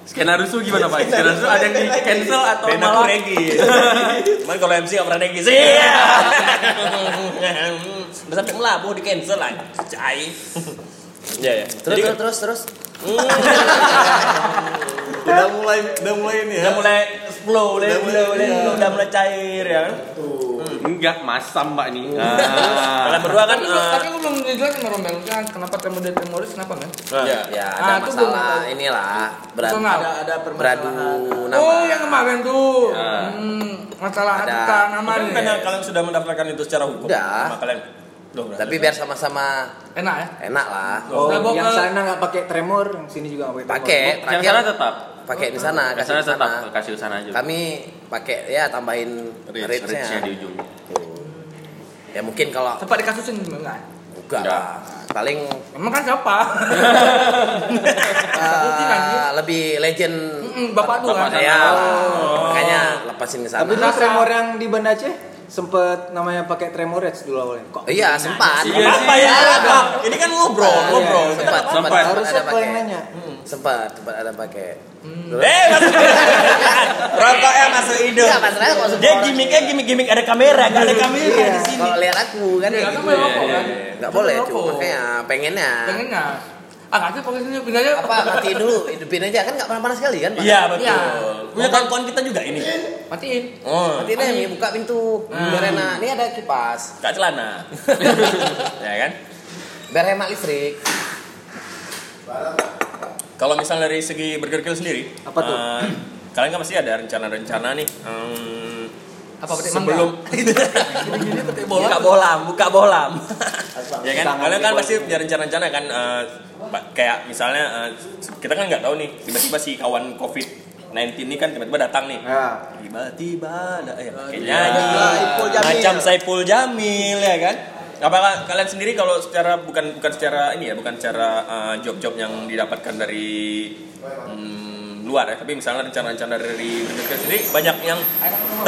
[SPEAKER 6] Skenario itu gimana Pak? Skenario itu ada yang di cancel atau
[SPEAKER 1] band aku
[SPEAKER 6] malah
[SPEAKER 1] regis. Cuman kalau MC nggak pernah regis. Iya. Udah sampai melabuh di cancel lah. Cai. Ya ya.
[SPEAKER 3] Terus,
[SPEAKER 1] Jadi Hmm.
[SPEAKER 3] terus, terus, terus.
[SPEAKER 4] Udah mulai udah mulai ini ya.
[SPEAKER 1] udah mulai flow, udah
[SPEAKER 4] Udah
[SPEAKER 1] mulai,
[SPEAKER 4] mulai-
[SPEAKER 1] udah,
[SPEAKER 4] iya.
[SPEAKER 1] udah, udah mulai cair ya. kan?
[SPEAKER 6] enggak masam Pak nih.
[SPEAKER 1] Kalian
[SPEAKER 6] Ah.
[SPEAKER 1] berdua kan.
[SPEAKER 2] Tapi, lu-
[SPEAKER 1] eh,
[SPEAKER 2] tapi lu belum dijelasin sama Rombel kan kenapa temu dan temoris kenapa kan?
[SPEAKER 4] Iya.
[SPEAKER 3] Ya,
[SPEAKER 2] Ah,
[SPEAKER 3] ada
[SPEAKER 2] itu belum
[SPEAKER 3] masalah
[SPEAKER 2] tahu.
[SPEAKER 3] inilah. Beradu,
[SPEAKER 2] Personal.
[SPEAKER 7] Ada ada
[SPEAKER 3] beradu
[SPEAKER 7] permasalahan.
[SPEAKER 3] nama.
[SPEAKER 2] Oh yang kemarin tuh.
[SPEAKER 6] Ya.
[SPEAKER 2] Hmm, masalah
[SPEAKER 3] Ada.
[SPEAKER 2] harta nama
[SPEAKER 1] Tapi
[SPEAKER 2] nih.
[SPEAKER 1] karena kalian sudah mendaftarkan itu secara hukum.
[SPEAKER 3] Udah.
[SPEAKER 1] Sama kalian. Loh,
[SPEAKER 3] Tapi biar sama-sama
[SPEAKER 2] Enak ya?
[SPEAKER 3] enak lah.
[SPEAKER 5] Oh,
[SPEAKER 2] Nah, Bob,
[SPEAKER 5] yang
[SPEAKER 2] eh,
[SPEAKER 5] sana nggak pakai tremor, yang sini juga nggak pakai.
[SPEAKER 3] Pakai,
[SPEAKER 6] Yang
[SPEAKER 3] terakhir
[SPEAKER 6] sana tetap.
[SPEAKER 3] pakai di sana,
[SPEAKER 6] Yang
[SPEAKER 3] kasih
[SPEAKER 6] sana
[SPEAKER 3] di
[SPEAKER 4] Ah.
[SPEAKER 6] tetap
[SPEAKER 3] sana.
[SPEAKER 6] kasih di sana aja.
[SPEAKER 3] Kami pakai ya tambahin
[SPEAKER 4] Reach,
[SPEAKER 6] Reach-nya di
[SPEAKER 3] reach-nya.
[SPEAKER 6] ujung.
[SPEAKER 3] Tuh. Ya mungkin kalau
[SPEAKER 2] Sempat dikasusin enggak?
[SPEAKER 3] enggak
[SPEAKER 6] Enggak.
[SPEAKER 3] lah. Paling
[SPEAKER 2] Emang kan siapa? Mungkin kan,
[SPEAKER 3] eh, lebih legend
[SPEAKER 2] Mm-mm, bapak lu kan.
[SPEAKER 6] Bapak
[SPEAKER 3] saya.
[SPEAKER 6] saya.
[SPEAKER 3] Makanya lepasin di sana.
[SPEAKER 5] Tapi dulu tremor yang di Banda Aceh sempet namanya pakai tremor Reds dulu awalnya. Kok?
[SPEAKER 3] Iya, sempat.
[SPEAKER 6] Iya
[SPEAKER 1] Apa ya?
[SPEAKER 3] Ada.
[SPEAKER 1] Ini kan ngobrol,
[SPEAKER 5] Iya,
[SPEAKER 1] ngobrol.
[SPEAKER 5] iya,
[SPEAKER 3] Sempat, sempat,
[SPEAKER 6] Sempat.
[SPEAKER 3] sempat
[SPEAKER 5] Harusnya
[SPEAKER 3] ada
[SPEAKER 5] kau yang
[SPEAKER 3] pakai. Hmm.
[SPEAKER 5] nanya.
[SPEAKER 3] Sempat, sempat ada pakai.
[SPEAKER 1] Eh, masuk Rokoknya masuk hidung.
[SPEAKER 3] Iya, masalahnya kalau
[SPEAKER 1] ya, Dia
[SPEAKER 3] semua orang- gitu.
[SPEAKER 1] gimmicknya gimmick-gimmick ada kamera, gak ada kamera
[SPEAKER 3] Iya.
[SPEAKER 1] di sini.
[SPEAKER 3] Kalau lihat aku kan
[SPEAKER 2] Iya,
[SPEAKER 3] kayak
[SPEAKER 2] kan
[SPEAKER 3] gitu.
[SPEAKER 2] boleh rokok kan?
[SPEAKER 3] Enggak boleh,
[SPEAKER 2] Kan
[SPEAKER 3] cuma
[SPEAKER 2] rokok.
[SPEAKER 3] makanya pengennya.
[SPEAKER 2] Pengen nggak? Ah, nanti posisinya pindah aja.
[SPEAKER 3] Apa mati dulu, hidupin aja kan enggak panas-panas sekali kan? Pak?
[SPEAKER 1] Iya, betul.
[SPEAKER 2] Iya.
[SPEAKER 1] Punya kawan-kawan kita juga ini.
[SPEAKER 2] Matiin.
[SPEAKER 1] Oh,
[SPEAKER 3] Matiin deh, Mi, buka pintu. Biar enak. Ini ada kipas.
[SPEAKER 1] kak celana. ya kan?
[SPEAKER 3] Biar hemat listrik.
[SPEAKER 1] Kalau misalnya dari segi Burger Kill sendiri,
[SPEAKER 5] Apa tuh?
[SPEAKER 1] eh, kalian kan pasti ada rencana-rencana nih. em,
[SPEAKER 2] Apa petik mangga? Gitu.
[SPEAKER 1] sebelum
[SPEAKER 2] Gini-gini petik bola.
[SPEAKER 1] buka bolam, buka bolam. ya kan?
[SPEAKER 5] Tangan
[SPEAKER 1] Kalian kan
[SPEAKER 5] di
[SPEAKER 1] pasti punya rencana-rencana kan eh, pa- kayak misalnya eh, kita kan nggak tahu nih tiba-tiba si kawan Covid 19 ini kan tiba-tiba datang nih.
[SPEAKER 5] Ya.
[SPEAKER 1] Tiba-tiba ada ya pakai
[SPEAKER 7] Tiba-tiba Saipul
[SPEAKER 1] nyanyi.
[SPEAKER 7] Jamil.
[SPEAKER 1] Macam Saipul Jamil ya kan? Apakah kalian sendiri kalau secara bukan bukan secara ini ya, bukan secara eh, job-job yang didapatkan dari mm, luar ya, tapi misalnya rencana-rencana dari Burger sendiri banyak yang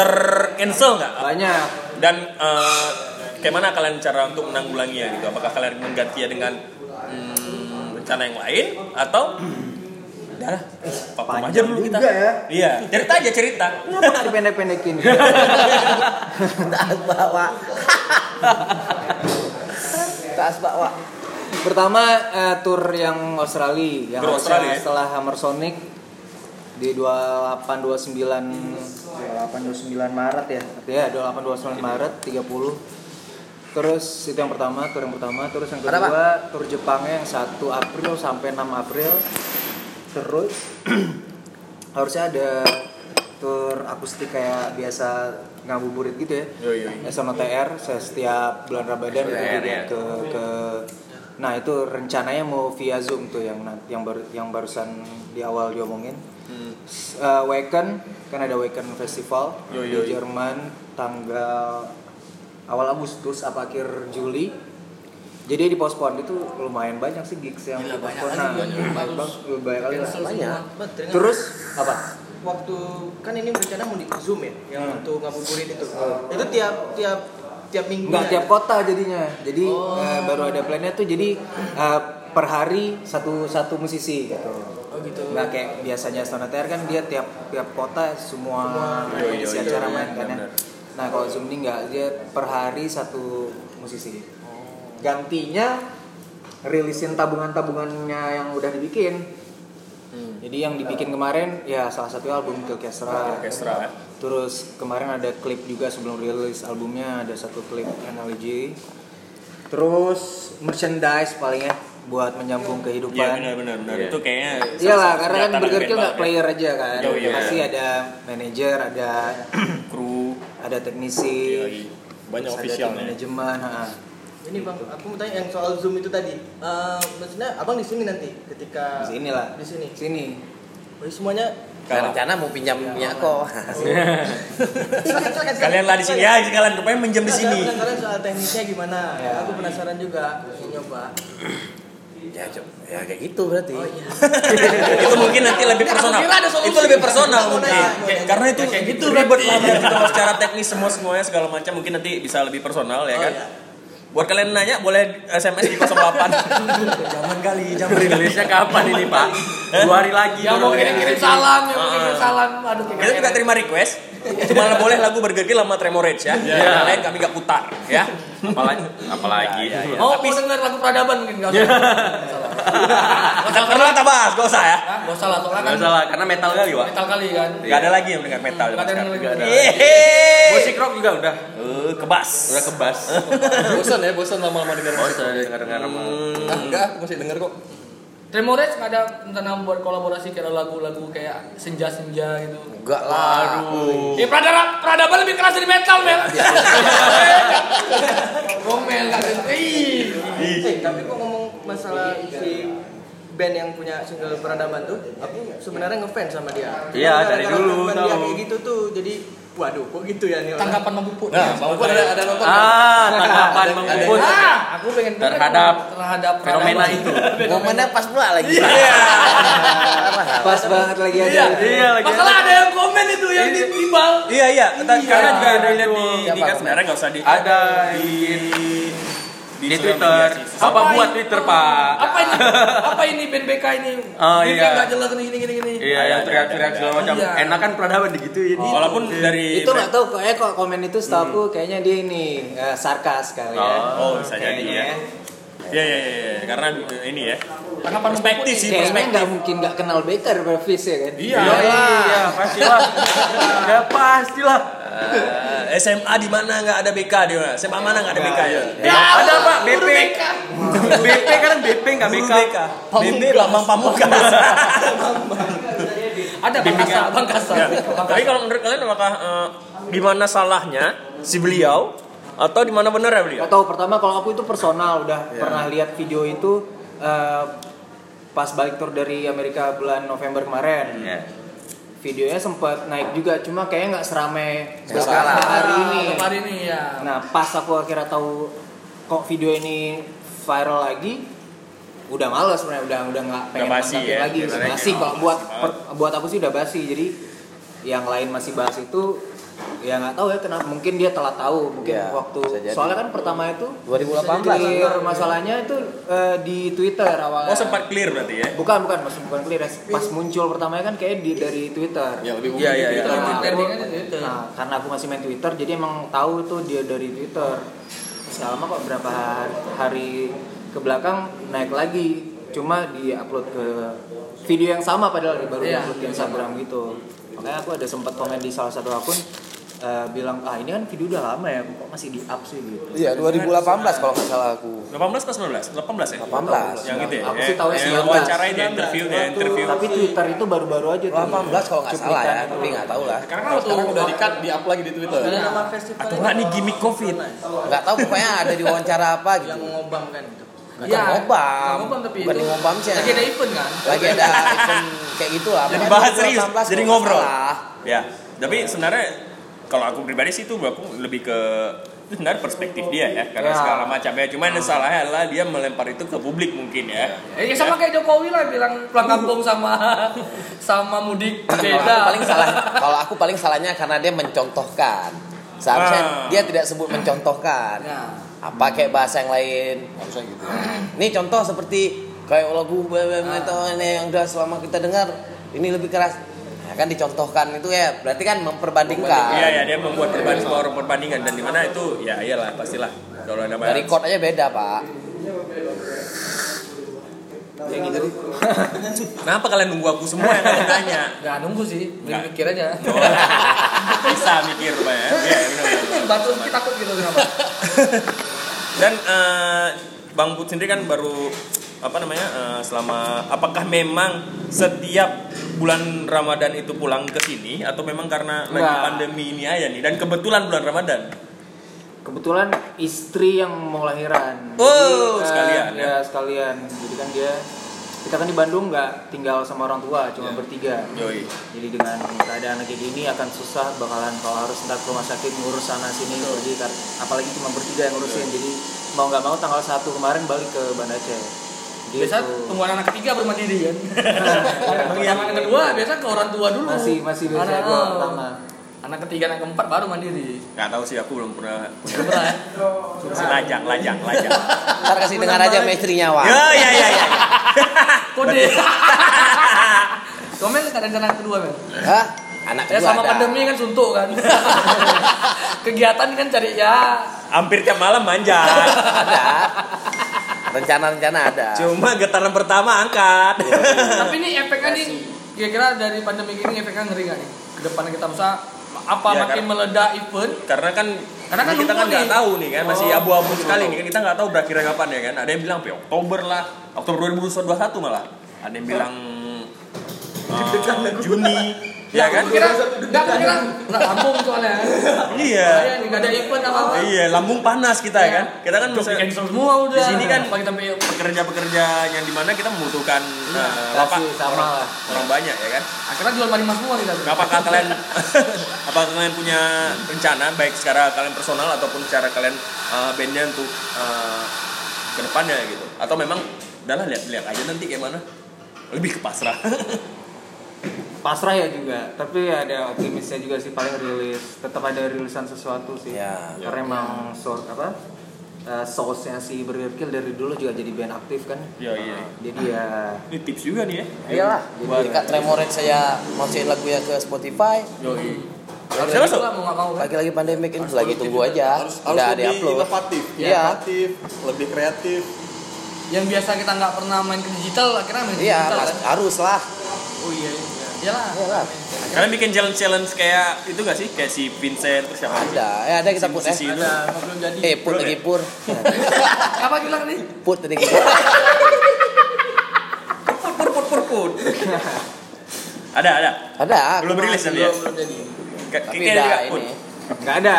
[SPEAKER 1] tercancel nggak?
[SPEAKER 5] Banyak.
[SPEAKER 1] Dan eh, kayak mana kalian cara untuk menanggulanginya gitu? Apakah kalian menggantinya dengan hmm, rencana yang lain atau darah? Pakum aja dulu kita.
[SPEAKER 5] juga ya.
[SPEAKER 1] Iya, cerita aja cerita.
[SPEAKER 5] Kenapa nggak dipendek-pendekin?
[SPEAKER 3] Tak bawa. Tas bawa.
[SPEAKER 5] Pertama eh, tour yang Australia yang
[SPEAKER 1] Tour
[SPEAKER 5] harusnya
[SPEAKER 1] Australia ya?
[SPEAKER 5] setelah Hammer Sonic di 28 29 28 29 Maret ya. Ya, 28 29 Maret 30. Terus itu yang pertama, tour yang pertama, terus yang
[SPEAKER 3] Ada apa?
[SPEAKER 5] kedua tour Jepangnya yang 1 April sampai 6 April. Terus harusnya ada tour akustik kayak biasa ngabuburit gitu ya.
[SPEAKER 1] Yo, yo, yo.
[SPEAKER 5] SMTR setiap bulan Ramadan itu
[SPEAKER 6] SMTR,
[SPEAKER 5] juga
[SPEAKER 6] ya.
[SPEAKER 5] ke ke nah itu rencananya mau via Zoom tuh yang nan- yang baru yang barusan di awal diomongin. S- eh, Wacken kan ada Wacken Festival
[SPEAKER 1] Yo, yo,
[SPEAKER 5] di
[SPEAKER 1] yo.
[SPEAKER 5] Jerman tanggal awal Agustus apa akhir Juli. Jadi dipospon itu lumayan banyak sih gigs yang
[SPEAKER 2] Gila, banyak
[SPEAKER 5] dipospon.
[SPEAKER 2] kali
[SPEAKER 5] Nah,
[SPEAKER 2] banyak.
[SPEAKER 5] banyak banget, banyak kali lah.
[SPEAKER 7] Cancel
[SPEAKER 3] Banyak.
[SPEAKER 7] semua. Bet, dengan
[SPEAKER 5] Terus apa?
[SPEAKER 7] waktu kan ini rencana mau di Zoom ya, yang
[SPEAKER 5] Hmm.
[SPEAKER 7] untuk ngabuburit itu. Itu tiap tiap tiap minggu. ya,
[SPEAKER 5] Enggak tiap kota jadinya. Jadi
[SPEAKER 7] Oh.
[SPEAKER 5] eh, baru ada plannya tuh jadi eh, per hari satu satu musisi gitu.
[SPEAKER 7] Oh gitu.
[SPEAKER 5] Nggak kayak biasanya Sonater kan dia tiap tiap kota semua Iya, isi acara main kan ya. Nah kalau Zoom ini nggak dia per hari satu musisi.
[SPEAKER 7] Oh.
[SPEAKER 5] Gantinya rilisin tabungan-tabungannya yang udah dibikin.
[SPEAKER 7] Hmm.
[SPEAKER 5] Jadi yang dibikin kemarin ya salah satu album Kilkesra.
[SPEAKER 1] Orkestra. ya.
[SPEAKER 5] Terus kemarin ada klip juga sebelum rilis albumnya ada satu klip analogy. Terus merchandise palingnya buat menyambung
[SPEAKER 1] Iya
[SPEAKER 5] kehidupan.
[SPEAKER 1] benar benar benar.
[SPEAKER 6] Iya.
[SPEAKER 1] Itu kayaknya
[SPEAKER 5] Iyalah
[SPEAKER 1] salah satu
[SPEAKER 5] karena kan
[SPEAKER 1] senjata
[SPEAKER 5] Burger
[SPEAKER 1] dari
[SPEAKER 5] Kill
[SPEAKER 1] band
[SPEAKER 5] nggak
[SPEAKER 1] banget ya.
[SPEAKER 5] player aja kan.
[SPEAKER 1] Yo, yo.
[SPEAKER 5] Pasti ada manajer, ada
[SPEAKER 1] kru
[SPEAKER 5] ada teknisi,
[SPEAKER 1] iya, iya. banyak
[SPEAKER 5] terus ada tim
[SPEAKER 1] officialnya.
[SPEAKER 5] manajemen. ha.
[SPEAKER 7] Ini bang, aku mau tanya yang soal zoom itu tadi. Eh, maksudnya abang di sini nanti ketika
[SPEAKER 5] Di sini lah.
[SPEAKER 7] Di sini.
[SPEAKER 5] Sini.
[SPEAKER 7] Jadi semuanya.
[SPEAKER 3] Nah, rencana mau pinjam minyak kok.
[SPEAKER 1] Kalian lah di sini ya, kalian rupanya menjam di sini.
[SPEAKER 7] Kalian kalian soal teknisnya gimana?
[SPEAKER 5] Ya.
[SPEAKER 7] Aku penasaran juga. Mau nyoba.
[SPEAKER 3] ya, coba. ya kayak gitu berarti.
[SPEAKER 7] Oh iya.
[SPEAKER 1] itu mungkin nanti lebih personal.
[SPEAKER 7] Alhamdulillah ada solusi.
[SPEAKER 1] Itu lebih personal
[SPEAKER 7] Kita mau
[SPEAKER 1] mungkin.
[SPEAKER 7] nanya.
[SPEAKER 1] Kayak- Karena itu gitu kayak gitu ribet lah berarti kalau secara teknis semua semuanya segala macam mungkin nanti bisa lebih personal ya
[SPEAKER 7] Oh,
[SPEAKER 1] kan.
[SPEAKER 7] iya.
[SPEAKER 1] Buat kalian nanya boleh SMS di 08.
[SPEAKER 3] Jangan kali, jangan.
[SPEAKER 6] Rilisnya kapan ini Pak? Dua hari lagi.
[SPEAKER 1] Ya,
[SPEAKER 2] Yang Ya, mau
[SPEAKER 6] baru
[SPEAKER 2] kirim-kirim
[SPEAKER 6] rilis.
[SPEAKER 2] salam, yang mau kirim salam, aduh.
[SPEAKER 1] Iya, Kita juga terima request. Cuma boleh lagu Burger King sama Tremorage ya. Yang lain kami nggak putar ya.
[SPEAKER 6] Iya.
[SPEAKER 1] Iya,
[SPEAKER 6] Apalagi? Apalagi?
[SPEAKER 2] Mau mau denger lagu peradaban mungkin nggak usah. Nggak usah lah.
[SPEAKER 1] Kalau kenal tabas, gak usah ya.
[SPEAKER 2] Nggak usah lah, soalnya
[SPEAKER 6] Gak
[SPEAKER 2] kan
[SPEAKER 6] usah lah, karena metal kali Pak.
[SPEAKER 2] metal kali kan.
[SPEAKER 1] Gak ada lagi yang mendengar metal.
[SPEAKER 2] Nggak ada yang
[SPEAKER 1] sekarang.
[SPEAKER 2] dengar metal.
[SPEAKER 1] Yeay.
[SPEAKER 6] Musik rock juga udah.
[SPEAKER 1] Eh, kebas.
[SPEAKER 6] Udah kebas.
[SPEAKER 4] bosan ya bosan lama-lama dengar
[SPEAKER 6] Oh,
[SPEAKER 4] musik
[SPEAKER 6] saya dengar-dengar sama.
[SPEAKER 4] ah, enggak aku masih denger kok
[SPEAKER 2] Tremores nggak ada rencana buat kolaborasi kayak lagu-lagu kayak senja-senja gitu.
[SPEAKER 3] Enggak lah.
[SPEAKER 2] Ya peradaban, peradaban lebih keras dari metal, Mel. Gomel nggak ngerti.
[SPEAKER 7] Eh, tapi kok ngomong masalah si band yang punya single peradaban tuh, aku sebenarnya ngefans sama dia.
[SPEAKER 6] Iya,
[SPEAKER 7] Karena
[SPEAKER 6] dari dulu,
[SPEAKER 7] teman dia
[SPEAKER 6] tahu.
[SPEAKER 7] kayak gitu tuh, jadi waduh kok gitu ya nih
[SPEAKER 1] Kan
[SPEAKER 7] orang.
[SPEAKER 2] Tanggapan Mang Puput.
[SPEAKER 4] nah mau ada ada nonton
[SPEAKER 6] Ah, tanggapan Bang
[SPEAKER 4] Ada-
[SPEAKER 6] Puput.
[SPEAKER 2] Ah, aku pengen denger
[SPEAKER 6] Oh, iya. Terhadap
[SPEAKER 2] terhadap Iya.
[SPEAKER 6] Fenomena
[SPEAKER 2] peradaban.
[SPEAKER 6] itu.
[SPEAKER 3] Momennya pas pula lagi.
[SPEAKER 5] Pas banget lagi aja.
[SPEAKER 6] Iya lagi.
[SPEAKER 2] Masalah ada yang komen itu yang di di bal.
[SPEAKER 1] Iya iya,
[SPEAKER 6] Ah,
[SPEAKER 1] Ntar- karena juga ada lihat di,
[SPEAKER 3] Siapa
[SPEAKER 1] di kan
[SPEAKER 3] kamu?
[SPEAKER 1] sebenarnya nggak usah di
[SPEAKER 6] Ada
[SPEAKER 1] di
[SPEAKER 6] Ah, di
[SPEAKER 1] sosial
[SPEAKER 6] Twitter.
[SPEAKER 1] media sih.
[SPEAKER 6] Apa buat
[SPEAKER 2] ini-
[SPEAKER 6] Twitter Pak?
[SPEAKER 2] Apa ini? Apa ini band BK ini?
[SPEAKER 6] Oh,
[SPEAKER 2] Band
[SPEAKER 6] iya.
[SPEAKER 2] BK nggak jelas ini gini gini gini.
[SPEAKER 1] Ada,
[SPEAKER 6] Iya, yang
[SPEAKER 1] ada,
[SPEAKER 6] teriak-teriak
[SPEAKER 1] ada,
[SPEAKER 6] segala macam.
[SPEAKER 2] Iya.
[SPEAKER 6] Enak kan peradaban digituin.
[SPEAKER 4] Oh,
[SPEAKER 1] Walaupun dari
[SPEAKER 5] Itu nggak tahu kok, eh kok komen itu setahu aku kayaknya dia ini eh, sarkas kali ya.
[SPEAKER 1] Oh, bisa jadi ya.
[SPEAKER 5] Kayaknya.
[SPEAKER 1] Iya iya iya, iya. karena eh, ini ya.
[SPEAKER 2] Karena Mang Puput
[SPEAKER 1] Perspektif sih,
[SPEAKER 5] Kayaknya
[SPEAKER 1] perspektif.
[SPEAKER 5] nggak mungkin nggak kenal Baker Brevis ya kan?
[SPEAKER 1] Iya.
[SPEAKER 6] Iya, pastilah. Ya pastilah.
[SPEAKER 1] Eh, SMA di mana nggak ada BK dia? SMA mana nggak ada BK ya?
[SPEAKER 6] ada Pak BP. BP kan BP enggak BK.
[SPEAKER 1] BK, Bambang Pamungkas.
[SPEAKER 2] Ada Bang Kasa, Bang Kasa.
[SPEAKER 6] Iya.
[SPEAKER 1] Ya.
[SPEAKER 2] Bang
[SPEAKER 1] Tapi
[SPEAKER 2] Kasa.
[SPEAKER 1] kalau menurut kalian apakah eh, di mana salahnya si beliau atau di mana benar ya beliau?
[SPEAKER 5] Gak tahu pertama kalau aku itu personal udah pernah lihat video itu eh, pas balik tour dari Amerika bulan November kemarin.
[SPEAKER 6] Iya.
[SPEAKER 5] Videonya sempat naik juga cuma kayaknya nggak seramai
[SPEAKER 3] sekarang.
[SPEAKER 5] hari ini.
[SPEAKER 2] Ah, Hari ini ya.
[SPEAKER 5] Nah pas aku akhirnya tahu kok video ini viral lagi, udah males sebenarnya udah udah nggak pengen
[SPEAKER 1] basi
[SPEAKER 5] mantapin
[SPEAKER 1] ya, Oh.
[SPEAKER 5] lagi. Udah
[SPEAKER 1] kira-kira.
[SPEAKER 5] basi kalau buat per- buat aku sih udah basi jadi yang lain masih bahas itu ya nggak tahu ya kenapa mungkin dia telah tahu mungkin
[SPEAKER 3] Ya,
[SPEAKER 5] waktu
[SPEAKER 3] bisa jadi.
[SPEAKER 5] soalnya kan pertama itu
[SPEAKER 3] 2018.
[SPEAKER 5] Clear masalahnya itu eh, di Twitter awalnya.
[SPEAKER 1] Oh sempat clear berarti ya?
[SPEAKER 5] Bukan bukan maksud bukan clear ya. pas muncul pertamanya kan kayak di dari Twitter.
[SPEAKER 4] ya lebih
[SPEAKER 1] Iya iya iya.
[SPEAKER 5] Nah,
[SPEAKER 2] Twitter,
[SPEAKER 5] aku-
[SPEAKER 2] dia kan di Twitter.
[SPEAKER 5] nah, karena aku masih main Twitter jadi emang tahu tuh dia dari Twitter. Selama kok berapa hari, hari ke belakang naik lagi cuma di upload ke video yang sama padahal baru
[SPEAKER 2] Iya,
[SPEAKER 5] upload
[SPEAKER 2] iya.
[SPEAKER 5] ke Instagram gitu. Makanya aku ada sempat komen di salah satu akun eh, bilang ah ini kan video udah lama ya kok masih di up sih gitu.
[SPEAKER 3] Iya, 2018 kalau nggak salah aku.
[SPEAKER 1] 18 pas 19? 18 ya?
[SPEAKER 3] 18.
[SPEAKER 1] Yang itu ya?
[SPEAKER 5] Aku sih tahu
[SPEAKER 1] Eh,
[SPEAKER 5] sih Iya,
[SPEAKER 1] yang
[SPEAKER 5] 19.
[SPEAKER 1] wawancara itu ya, interview ya, interview.
[SPEAKER 5] Tapi Twitter itu baru-baru aja tuh.
[SPEAKER 3] 18 kalau nggak salah ya, tapi nggak tahu lah.
[SPEAKER 2] Karena
[SPEAKER 4] Nah,
[SPEAKER 2] waktu
[SPEAKER 4] sekarang udah di cut di up lagi di Twitter
[SPEAKER 7] Ada nama festival
[SPEAKER 1] Atau nggak nih gimmick COVID?
[SPEAKER 3] Nggak tahu pokoknya ada di wawancara apa
[SPEAKER 7] yang
[SPEAKER 3] gitu.
[SPEAKER 7] mengobam kan
[SPEAKER 2] Iya.
[SPEAKER 7] itu.
[SPEAKER 3] Bukan ngobam.
[SPEAKER 2] ngobam tapi
[SPEAKER 3] Bukan
[SPEAKER 2] itu.
[SPEAKER 3] ngobam sih.
[SPEAKER 2] Lagi ada event kan?
[SPEAKER 3] Lagi ada event kayak gitu lah.
[SPEAKER 1] Jadi
[SPEAKER 3] Makanya
[SPEAKER 1] bahas
[SPEAKER 3] 2018
[SPEAKER 1] serius,
[SPEAKER 3] kalau
[SPEAKER 1] jadi
[SPEAKER 3] nggak
[SPEAKER 1] ngobrol.
[SPEAKER 3] salah.
[SPEAKER 1] Ya, tapi sebenarnya kalau aku pribadi sih itu aku lebih ke itu sebenarnya perspektif dia ya karena
[SPEAKER 5] Ya.
[SPEAKER 1] segala macamnya cuman yang salahnya adalah dia melempar itu ke publik mungkin ya
[SPEAKER 2] Ya sama kayak Jokowi lah bilang pulang kampung sama sama mudik
[SPEAKER 3] Kalau aku
[SPEAKER 2] beda.
[SPEAKER 3] paling salah, kalau aku paling salahnya karena dia mencontohkan. Seharusnya
[SPEAKER 1] Ah.
[SPEAKER 3] dia tidak sebut mencontohkan.
[SPEAKER 2] Nah,
[SPEAKER 3] Apa kayak bahasa yang lain?
[SPEAKER 4] harusnya gitu
[SPEAKER 3] Ini contoh seperti kayak lagu BBM itu ini yang udah selama kita dengar ini lebih keras. Nah, kan dicontohkan itu ya berarti kan memperbandingkan.
[SPEAKER 1] iya ya dia membuat perbandingan sebuah perbandingan dan di mana itu ya iyalah pastilah kalau ada
[SPEAKER 3] Iya. Dari
[SPEAKER 1] banyak
[SPEAKER 3] chord aja beda pak.
[SPEAKER 1] kenapa kalian nunggu aku semua yang kalian tanya
[SPEAKER 2] nggak nunggu sih,
[SPEAKER 1] Nggak.
[SPEAKER 2] mikir aja.
[SPEAKER 1] bisa mikir pak ya Iya, benar-benar.
[SPEAKER 2] Batu kita takut gitu kenapa?
[SPEAKER 1] Dan eh, Bang Put sendiri kan baru apa namanya eh, selama apakah memang setiap bulan Ramadan itu pulang ke sini atau memang karena lagi
[SPEAKER 5] Nggak.
[SPEAKER 1] pandemi ini aja nih dan kebetulan bulan Ramadan.
[SPEAKER 5] kebetulan istri yang mau lahiran.
[SPEAKER 1] Oh,
[SPEAKER 5] eh,
[SPEAKER 1] sekalian ya.
[SPEAKER 5] ya. sekalian. Jadi kan dia kita kan di Bandung nggak tinggal sama orang tua, cuma bertiga.
[SPEAKER 1] Yoi.
[SPEAKER 5] Jadi dengan keadaan kayak gini akan susah bakalan kalau harus ntar ke rumah sakit ngurus sana sini jadi kar- apalagi cuma bertiga yang ngurusin. Jadi mau nggak mau tanggal 1 kemarin balik ke Banda Aceh. Gitu. Iya,
[SPEAKER 2] Biasa tungguan anak ketiga baru mandiri kan. Anak pertama anak kedua biasa ke orang tua dulu.
[SPEAKER 5] masih masih biasa
[SPEAKER 2] Anak- oh.
[SPEAKER 5] gua pertama.
[SPEAKER 2] anak ketiga anak keempat baru mandiri
[SPEAKER 1] Gak tahu sih aku belum pernah punya.
[SPEAKER 2] Beneran ya?
[SPEAKER 1] Lajang, lajang, lajang.
[SPEAKER 3] Ntar kasih dengar aja sama istrinya, Wak.
[SPEAKER 1] Ya, ya, ya, ya.
[SPEAKER 2] kode komen keadaan anak kedua men
[SPEAKER 3] Hah? Anak
[SPEAKER 2] ya
[SPEAKER 3] kedua
[SPEAKER 2] sama
[SPEAKER 3] ada.
[SPEAKER 2] pandemi kan suntuk kan kegiatan kan cari ya
[SPEAKER 1] Hampir tiap malam manjat.
[SPEAKER 3] Ada. Rencana-rencana ada.
[SPEAKER 1] Cuma getaran pertama angkat.
[SPEAKER 2] tapi ini efeknya nih kira-kira dari pandemi ini efeknya ngeri nggak nih ke depan kita masa apa
[SPEAKER 1] Ya,
[SPEAKER 2] makin
[SPEAKER 1] karena-
[SPEAKER 2] meledak event
[SPEAKER 1] Karena kan
[SPEAKER 2] Karena kan
[SPEAKER 1] kita kan
[SPEAKER 2] lumpuh
[SPEAKER 1] nggak
[SPEAKER 2] nih.
[SPEAKER 1] tahu nih kan masih
[SPEAKER 2] Oh.
[SPEAKER 1] abu-abu sekali nih kan kita nggak tahu berakhirnya kapan ya kan. Ada yang bilang "Pi, Oktober lah, Oktober 2021 malah. Ada yang bilang eh, Juni ya kan?
[SPEAKER 2] kira nggak kira nggak lambung soalnya
[SPEAKER 1] Iya.
[SPEAKER 2] Bahaya nih, nggak ada event apa apa
[SPEAKER 1] Iya, lambung panas kita ya kan. Kita kan
[SPEAKER 2] Job di
[SPEAKER 1] bisa-
[SPEAKER 2] cancel semua udah
[SPEAKER 1] Di sini kan-
[SPEAKER 2] pagi sampai
[SPEAKER 1] pekerja-pekerja yang dimana kita membutuhkan eh, lapak
[SPEAKER 5] Kasih sama
[SPEAKER 1] orang,
[SPEAKER 5] lah.
[SPEAKER 1] orang banyak ya kan
[SPEAKER 2] akhirnya jual mari semua kita
[SPEAKER 1] apakah kalian apakah kalian punya rencana baik secara kalian personal ataupun secara kalian eh, bandnya untuk eh, ke depannya gitu atau memang udahlah lihat-lihat aja nanti kayak mana lebih ke pasrah
[SPEAKER 5] pasrah ya juga tapi ada optimisnya juga sih paling rilis tetap ada rilisan sesuatu sih
[SPEAKER 3] Ya.
[SPEAKER 5] karena emang source apa uh, source-nya si Burger Kill dari dulu juga jadi band aktif kan
[SPEAKER 1] ya iya
[SPEAKER 5] jadi ya
[SPEAKER 1] ini tips juga nih ya
[SPEAKER 3] Iyalah.
[SPEAKER 1] Buat-
[SPEAKER 3] Dekat Tremoret saya masukin lagunya ke Spotify.
[SPEAKER 1] Yoi.
[SPEAKER 3] Harusnya
[SPEAKER 1] masuk?
[SPEAKER 2] mau nggak mau kan
[SPEAKER 3] Lagi-lagi pandemi kan lagi tunggu aja.
[SPEAKER 4] harus harus
[SPEAKER 3] Udah ada
[SPEAKER 4] lebih
[SPEAKER 3] upload.
[SPEAKER 4] inovatif
[SPEAKER 3] Iya.
[SPEAKER 4] inovatif lebih kreatif
[SPEAKER 2] yang biasa kita nggak pernah main ke digital akhirnya main ke
[SPEAKER 3] Iya,
[SPEAKER 2] digital
[SPEAKER 3] mas-
[SPEAKER 2] kan
[SPEAKER 3] harus lah.
[SPEAKER 2] oh iya iya iyalah
[SPEAKER 3] Iyalah.
[SPEAKER 1] kalian bikin challenge challenge kayak itu gak sih kayak si Vincent terus siapa lagi?
[SPEAKER 3] Ada. Eh, ada kita put eh.
[SPEAKER 1] Musisi itu.
[SPEAKER 2] ada apa belum jadi
[SPEAKER 3] Eh, put
[SPEAKER 1] Belum
[SPEAKER 3] lagi
[SPEAKER 1] ya?
[SPEAKER 3] pur.
[SPEAKER 2] apa bilang nih
[SPEAKER 3] Put tadi kita.
[SPEAKER 1] pur pur pur pur ada ada
[SPEAKER 3] Ada.
[SPEAKER 1] belum rilis tapi ya
[SPEAKER 2] belum belum jadi
[SPEAKER 1] Kayak-
[SPEAKER 3] Tapi
[SPEAKER 1] kayak
[SPEAKER 3] udah
[SPEAKER 1] juga, Put.
[SPEAKER 3] ini.
[SPEAKER 5] nggak ada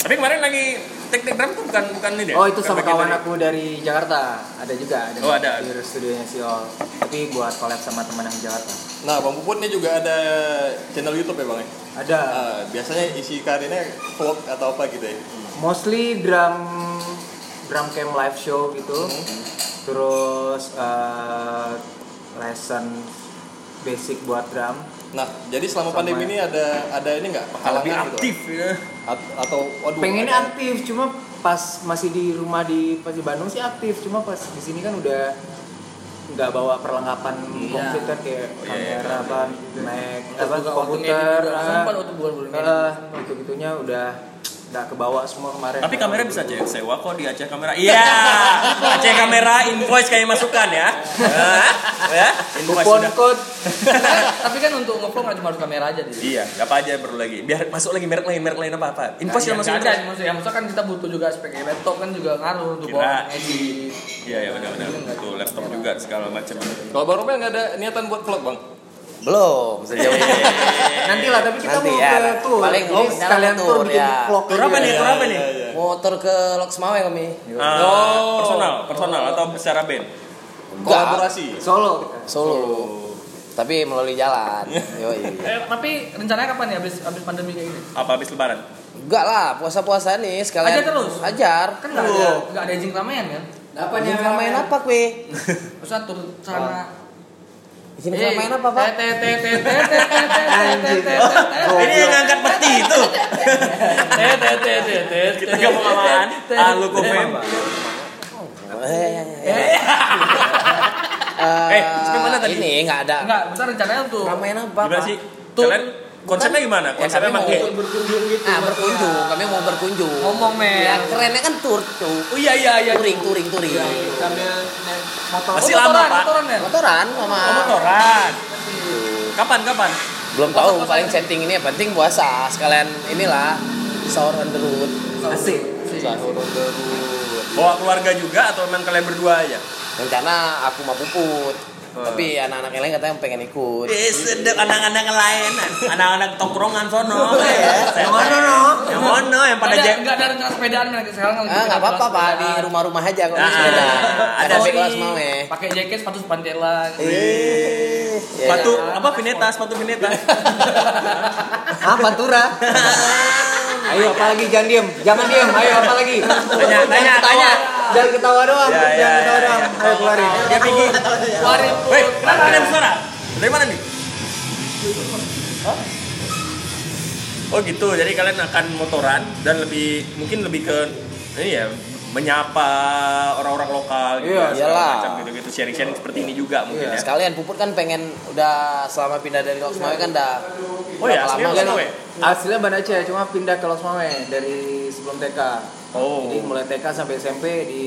[SPEAKER 1] Tapi kemarin lagi tek-tek drum tuh bukan bukan ini ya?
[SPEAKER 5] oh itu
[SPEAKER 1] Bukan
[SPEAKER 5] sama
[SPEAKER 1] bagian
[SPEAKER 5] kawan
[SPEAKER 1] dari-
[SPEAKER 5] aku dari Jakarta ada juga ada
[SPEAKER 1] Oh, ada.
[SPEAKER 5] di studionya si Ol tapi buat collab sama teman yang Jakarta
[SPEAKER 4] nah bang Puput ini juga ada channel YouTube ya bang ya?
[SPEAKER 5] ada
[SPEAKER 4] Ah, biasanya isi karirnya vlog atau apa gitu ya
[SPEAKER 5] mostly drum drum camp live show gitu
[SPEAKER 1] Hmm.
[SPEAKER 5] terus eh, lesson basic buat drum
[SPEAKER 4] nah jadi selama
[SPEAKER 5] Sama
[SPEAKER 4] pandemi
[SPEAKER 5] ya.
[SPEAKER 4] ini ada ada ini nggak
[SPEAKER 1] lebih
[SPEAKER 4] halangan gitu
[SPEAKER 1] aktif ya.
[SPEAKER 4] At- atau waduh
[SPEAKER 5] pengennya
[SPEAKER 4] ada-
[SPEAKER 5] aktif cuma pas masih di rumah di pas di Bandung sih aktif cuma pas di sini kan udah nggak bawa perlengkapan
[SPEAKER 2] Iya.
[SPEAKER 5] komplit kan kayak kamera apa mic apa
[SPEAKER 2] juga waktu ngedit
[SPEAKER 5] komputer
[SPEAKER 2] gitu juga.
[SPEAKER 5] ah.
[SPEAKER 2] Sempat waktu bulan bulan ngedit.
[SPEAKER 5] Ah, gitu-gitunya udah nggak kebawa semua kemarin
[SPEAKER 1] Tapi kamera bisa aja sewa kok di Aceh kamera. Iya. Aceh kamera invoice kayak masukan ya. Hah? ya, invoice
[SPEAKER 5] kupon
[SPEAKER 1] sudah.
[SPEAKER 5] code
[SPEAKER 2] tapi kan untuk ngevlog nggak cuma harus kamera aja deh
[SPEAKER 1] Iya, gak apa aja perlu lagi. Biar masuk lagi merek lain, merek lain apa apa. Invoice sudah
[SPEAKER 2] Nah, yang
[SPEAKER 1] masuk
[SPEAKER 2] ada
[SPEAKER 1] terus.
[SPEAKER 2] maksud ya maksudnya kan kita butuh juga spek laptop kan juga ngaruh untuk
[SPEAKER 1] Kira-
[SPEAKER 2] bawa edit
[SPEAKER 1] Iya, iya benar-benar. Itu laptop juga segala macam.
[SPEAKER 4] kalau bang Romel nggak ada niatan buat vlog bang
[SPEAKER 3] Belum sejauh ini.
[SPEAKER 5] nanti lah tapi kita
[SPEAKER 3] Nanti
[SPEAKER 5] mau
[SPEAKER 3] ya,
[SPEAKER 5] ke
[SPEAKER 3] nanti.
[SPEAKER 5] tour
[SPEAKER 3] Paling
[SPEAKER 5] Jadi
[SPEAKER 3] mau ke
[SPEAKER 5] sekalian
[SPEAKER 3] dalam
[SPEAKER 5] tour
[SPEAKER 3] tour,
[SPEAKER 5] bikin
[SPEAKER 2] iya.
[SPEAKER 3] ya.
[SPEAKER 5] vlog
[SPEAKER 1] Tur apa nih? Tur apa nih?
[SPEAKER 3] Motor ke ya, Loksmawe kami.
[SPEAKER 1] Ah, personal, personal atau secara band.
[SPEAKER 4] kolaborasi
[SPEAKER 5] solo kita
[SPEAKER 3] Solo. Tapi melalui jalan. Yoi.
[SPEAKER 2] eh, tapi rencananya kapan ya habis habis pandemi kayak gini
[SPEAKER 1] Apa habis lebaran?
[SPEAKER 3] Enggak lah, puasa-puasa nih
[SPEAKER 2] Ajar
[SPEAKER 3] sekalian.
[SPEAKER 2] terus?
[SPEAKER 3] Ajar.
[SPEAKER 2] kan nggak ada nggak ada izin keramaian kan
[SPEAKER 5] apa
[SPEAKER 3] Izin keramaian apa kue?
[SPEAKER 2] maksudnya tur sana Eh,
[SPEAKER 3] Izin
[SPEAKER 5] Eh,
[SPEAKER 3] keramaian apa pak?
[SPEAKER 1] Ini yang ngangkat peti itu. Kita gak mau apaan? Ah, lu komen.
[SPEAKER 3] Eh, eh, eh.
[SPEAKER 1] Eh, sampai mana tadi?
[SPEAKER 3] Ini nggak ada.
[SPEAKER 2] Enggak, maksudnya rencananya untuk
[SPEAKER 3] Keramaian apa?
[SPEAKER 1] Gimana
[SPEAKER 3] Pak?
[SPEAKER 1] sih?
[SPEAKER 2] Tuh,
[SPEAKER 1] Kalian konsepnya gimana?
[SPEAKER 3] Ya,
[SPEAKER 1] Konsepnya
[SPEAKER 3] kami mau
[SPEAKER 1] pakai
[SPEAKER 2] berkunjung gitu.
[SPEAKER 3] Ah,
[SPEAKER 2] maksudnya.
[SPEAKER 3] berkunjung. Kami mau berkunjung.
[SPEAKER 2] Ngomong, men.
[SPEAKER 3] Ya, kerennya kan tur, tuh.
[SPEAKER 2] Oh iya iya iya.
[SPEAKER 3] Touring, touring, touring.
[SPEAKER 2] Sambil naik motor.
[SPEAKER 1] Masih
[SPEAKER 2] Oh,
[SPEAKER 1] lama,
[SPEAKER 2] motoran,
[SPEAKER 1] Pak.
[SPEAKER 2] motoran, ya?
[SPEAKER 3] Motoran sama.
[SPEAKER 1] motoran. Kapan kapan?
[SPEAKER 3] Belum tahu paling setting ini yang penting puasa. Sekalian inilah sahur on the road.
[SPEAKER 5] asik
[SPEAKER 3] Sahur on the road.
[SPEAKER 1] Bawa keluarga juga atau memang kalian berdua aja?
[SPEAKER 3] Rencana aku mau puput.
[SPEAKER 1] Oh.
[SPEAKER 3] Tapi anak-anak yang lain katanya pengen ikut.
[SPEAKER 1] Eh, sedep anak-anak yang lain, anak-anak tongkrongan sono. Yang
[SPEAKER 5] mana, no?
[SPEAKER 1] Yang mana yang pada
[SPEAKER 2] Ada-
[SPEAKER 1] jeng.
[SPEAKER 2] Enggak ada rencana sepedaan mereka sekarang lagi
[SPEAKER 3] Ah, nggak apa-apa pak di
[SPEAKER 2] sepedaan.
[SPEAKER 3] rumah-rumah aja kalau di
[SPEAKER 1] Ah,
[SPEAKER 3] sepeda.
[SPEAKER 1] ada
[SPEAKER 3] Ada
[SPEAKER 2] Sorry,
[SPEAKER 3] kelas mau ya. Iya.
[SPEAKER 2] Pakai jaket sepatu pantelan.
[SPEAKER 3] Eh, ya,
[SPEAKER 1] Sepatu
[SPEAKER 3] ya.
[SPEAKER 1] apa vineta, sepatu vineta.
[SPEAKER 5] ah pantura ayo apalagi jangan diem jangan diem ayo apalagi
[SPEAKER 1] Tanya, tanya, tanya.
[SPEAKER 5] jangan ketawa doang
[SPEAKER 1] Ya, ya,
[SPEAKER 5] jangan ketawa
[SPEAKER 1] ya,
[SPEAKER 5] doang ayo keluarin
[SPEAKER 1] Dia pergi.
[SPEAKER 2] Warin.
[SPEAKER 1] Woi, kenapa ada suara? Dari mana nih? Oh gitu. Jadi kalian akan motoran dan lebih mungkin lebih ke ini ya menyapa orang-orang lokal gitu ya,
[SPEAKER 5] Iya,
[SPEAKER 1] segala
[SPEAKER 3] iyalah.
[SPEAKER 1] macam gitu-gitu sharing-sharing seperti ini juga mungkin ya.
[SPEAKER 3] Sekalian Puput kan pengen udah selama pindah dari Los Mawai kan udah
[SPEAKER 1] Oh ya,
[SPEAKER 3] berapa
[SPEAKER 1] aslinya
[SPEAKER 3] kan?
[SPEAKER 1] Los Mawai?
[SPEAKER 5] Aslinya Banda Aceh, cuma pindah ke Los Mawai dari sebelum TK.
[SPEAKER 1] Oh.
[SPEAKER 5] Jadi mulai TK sampai SMP di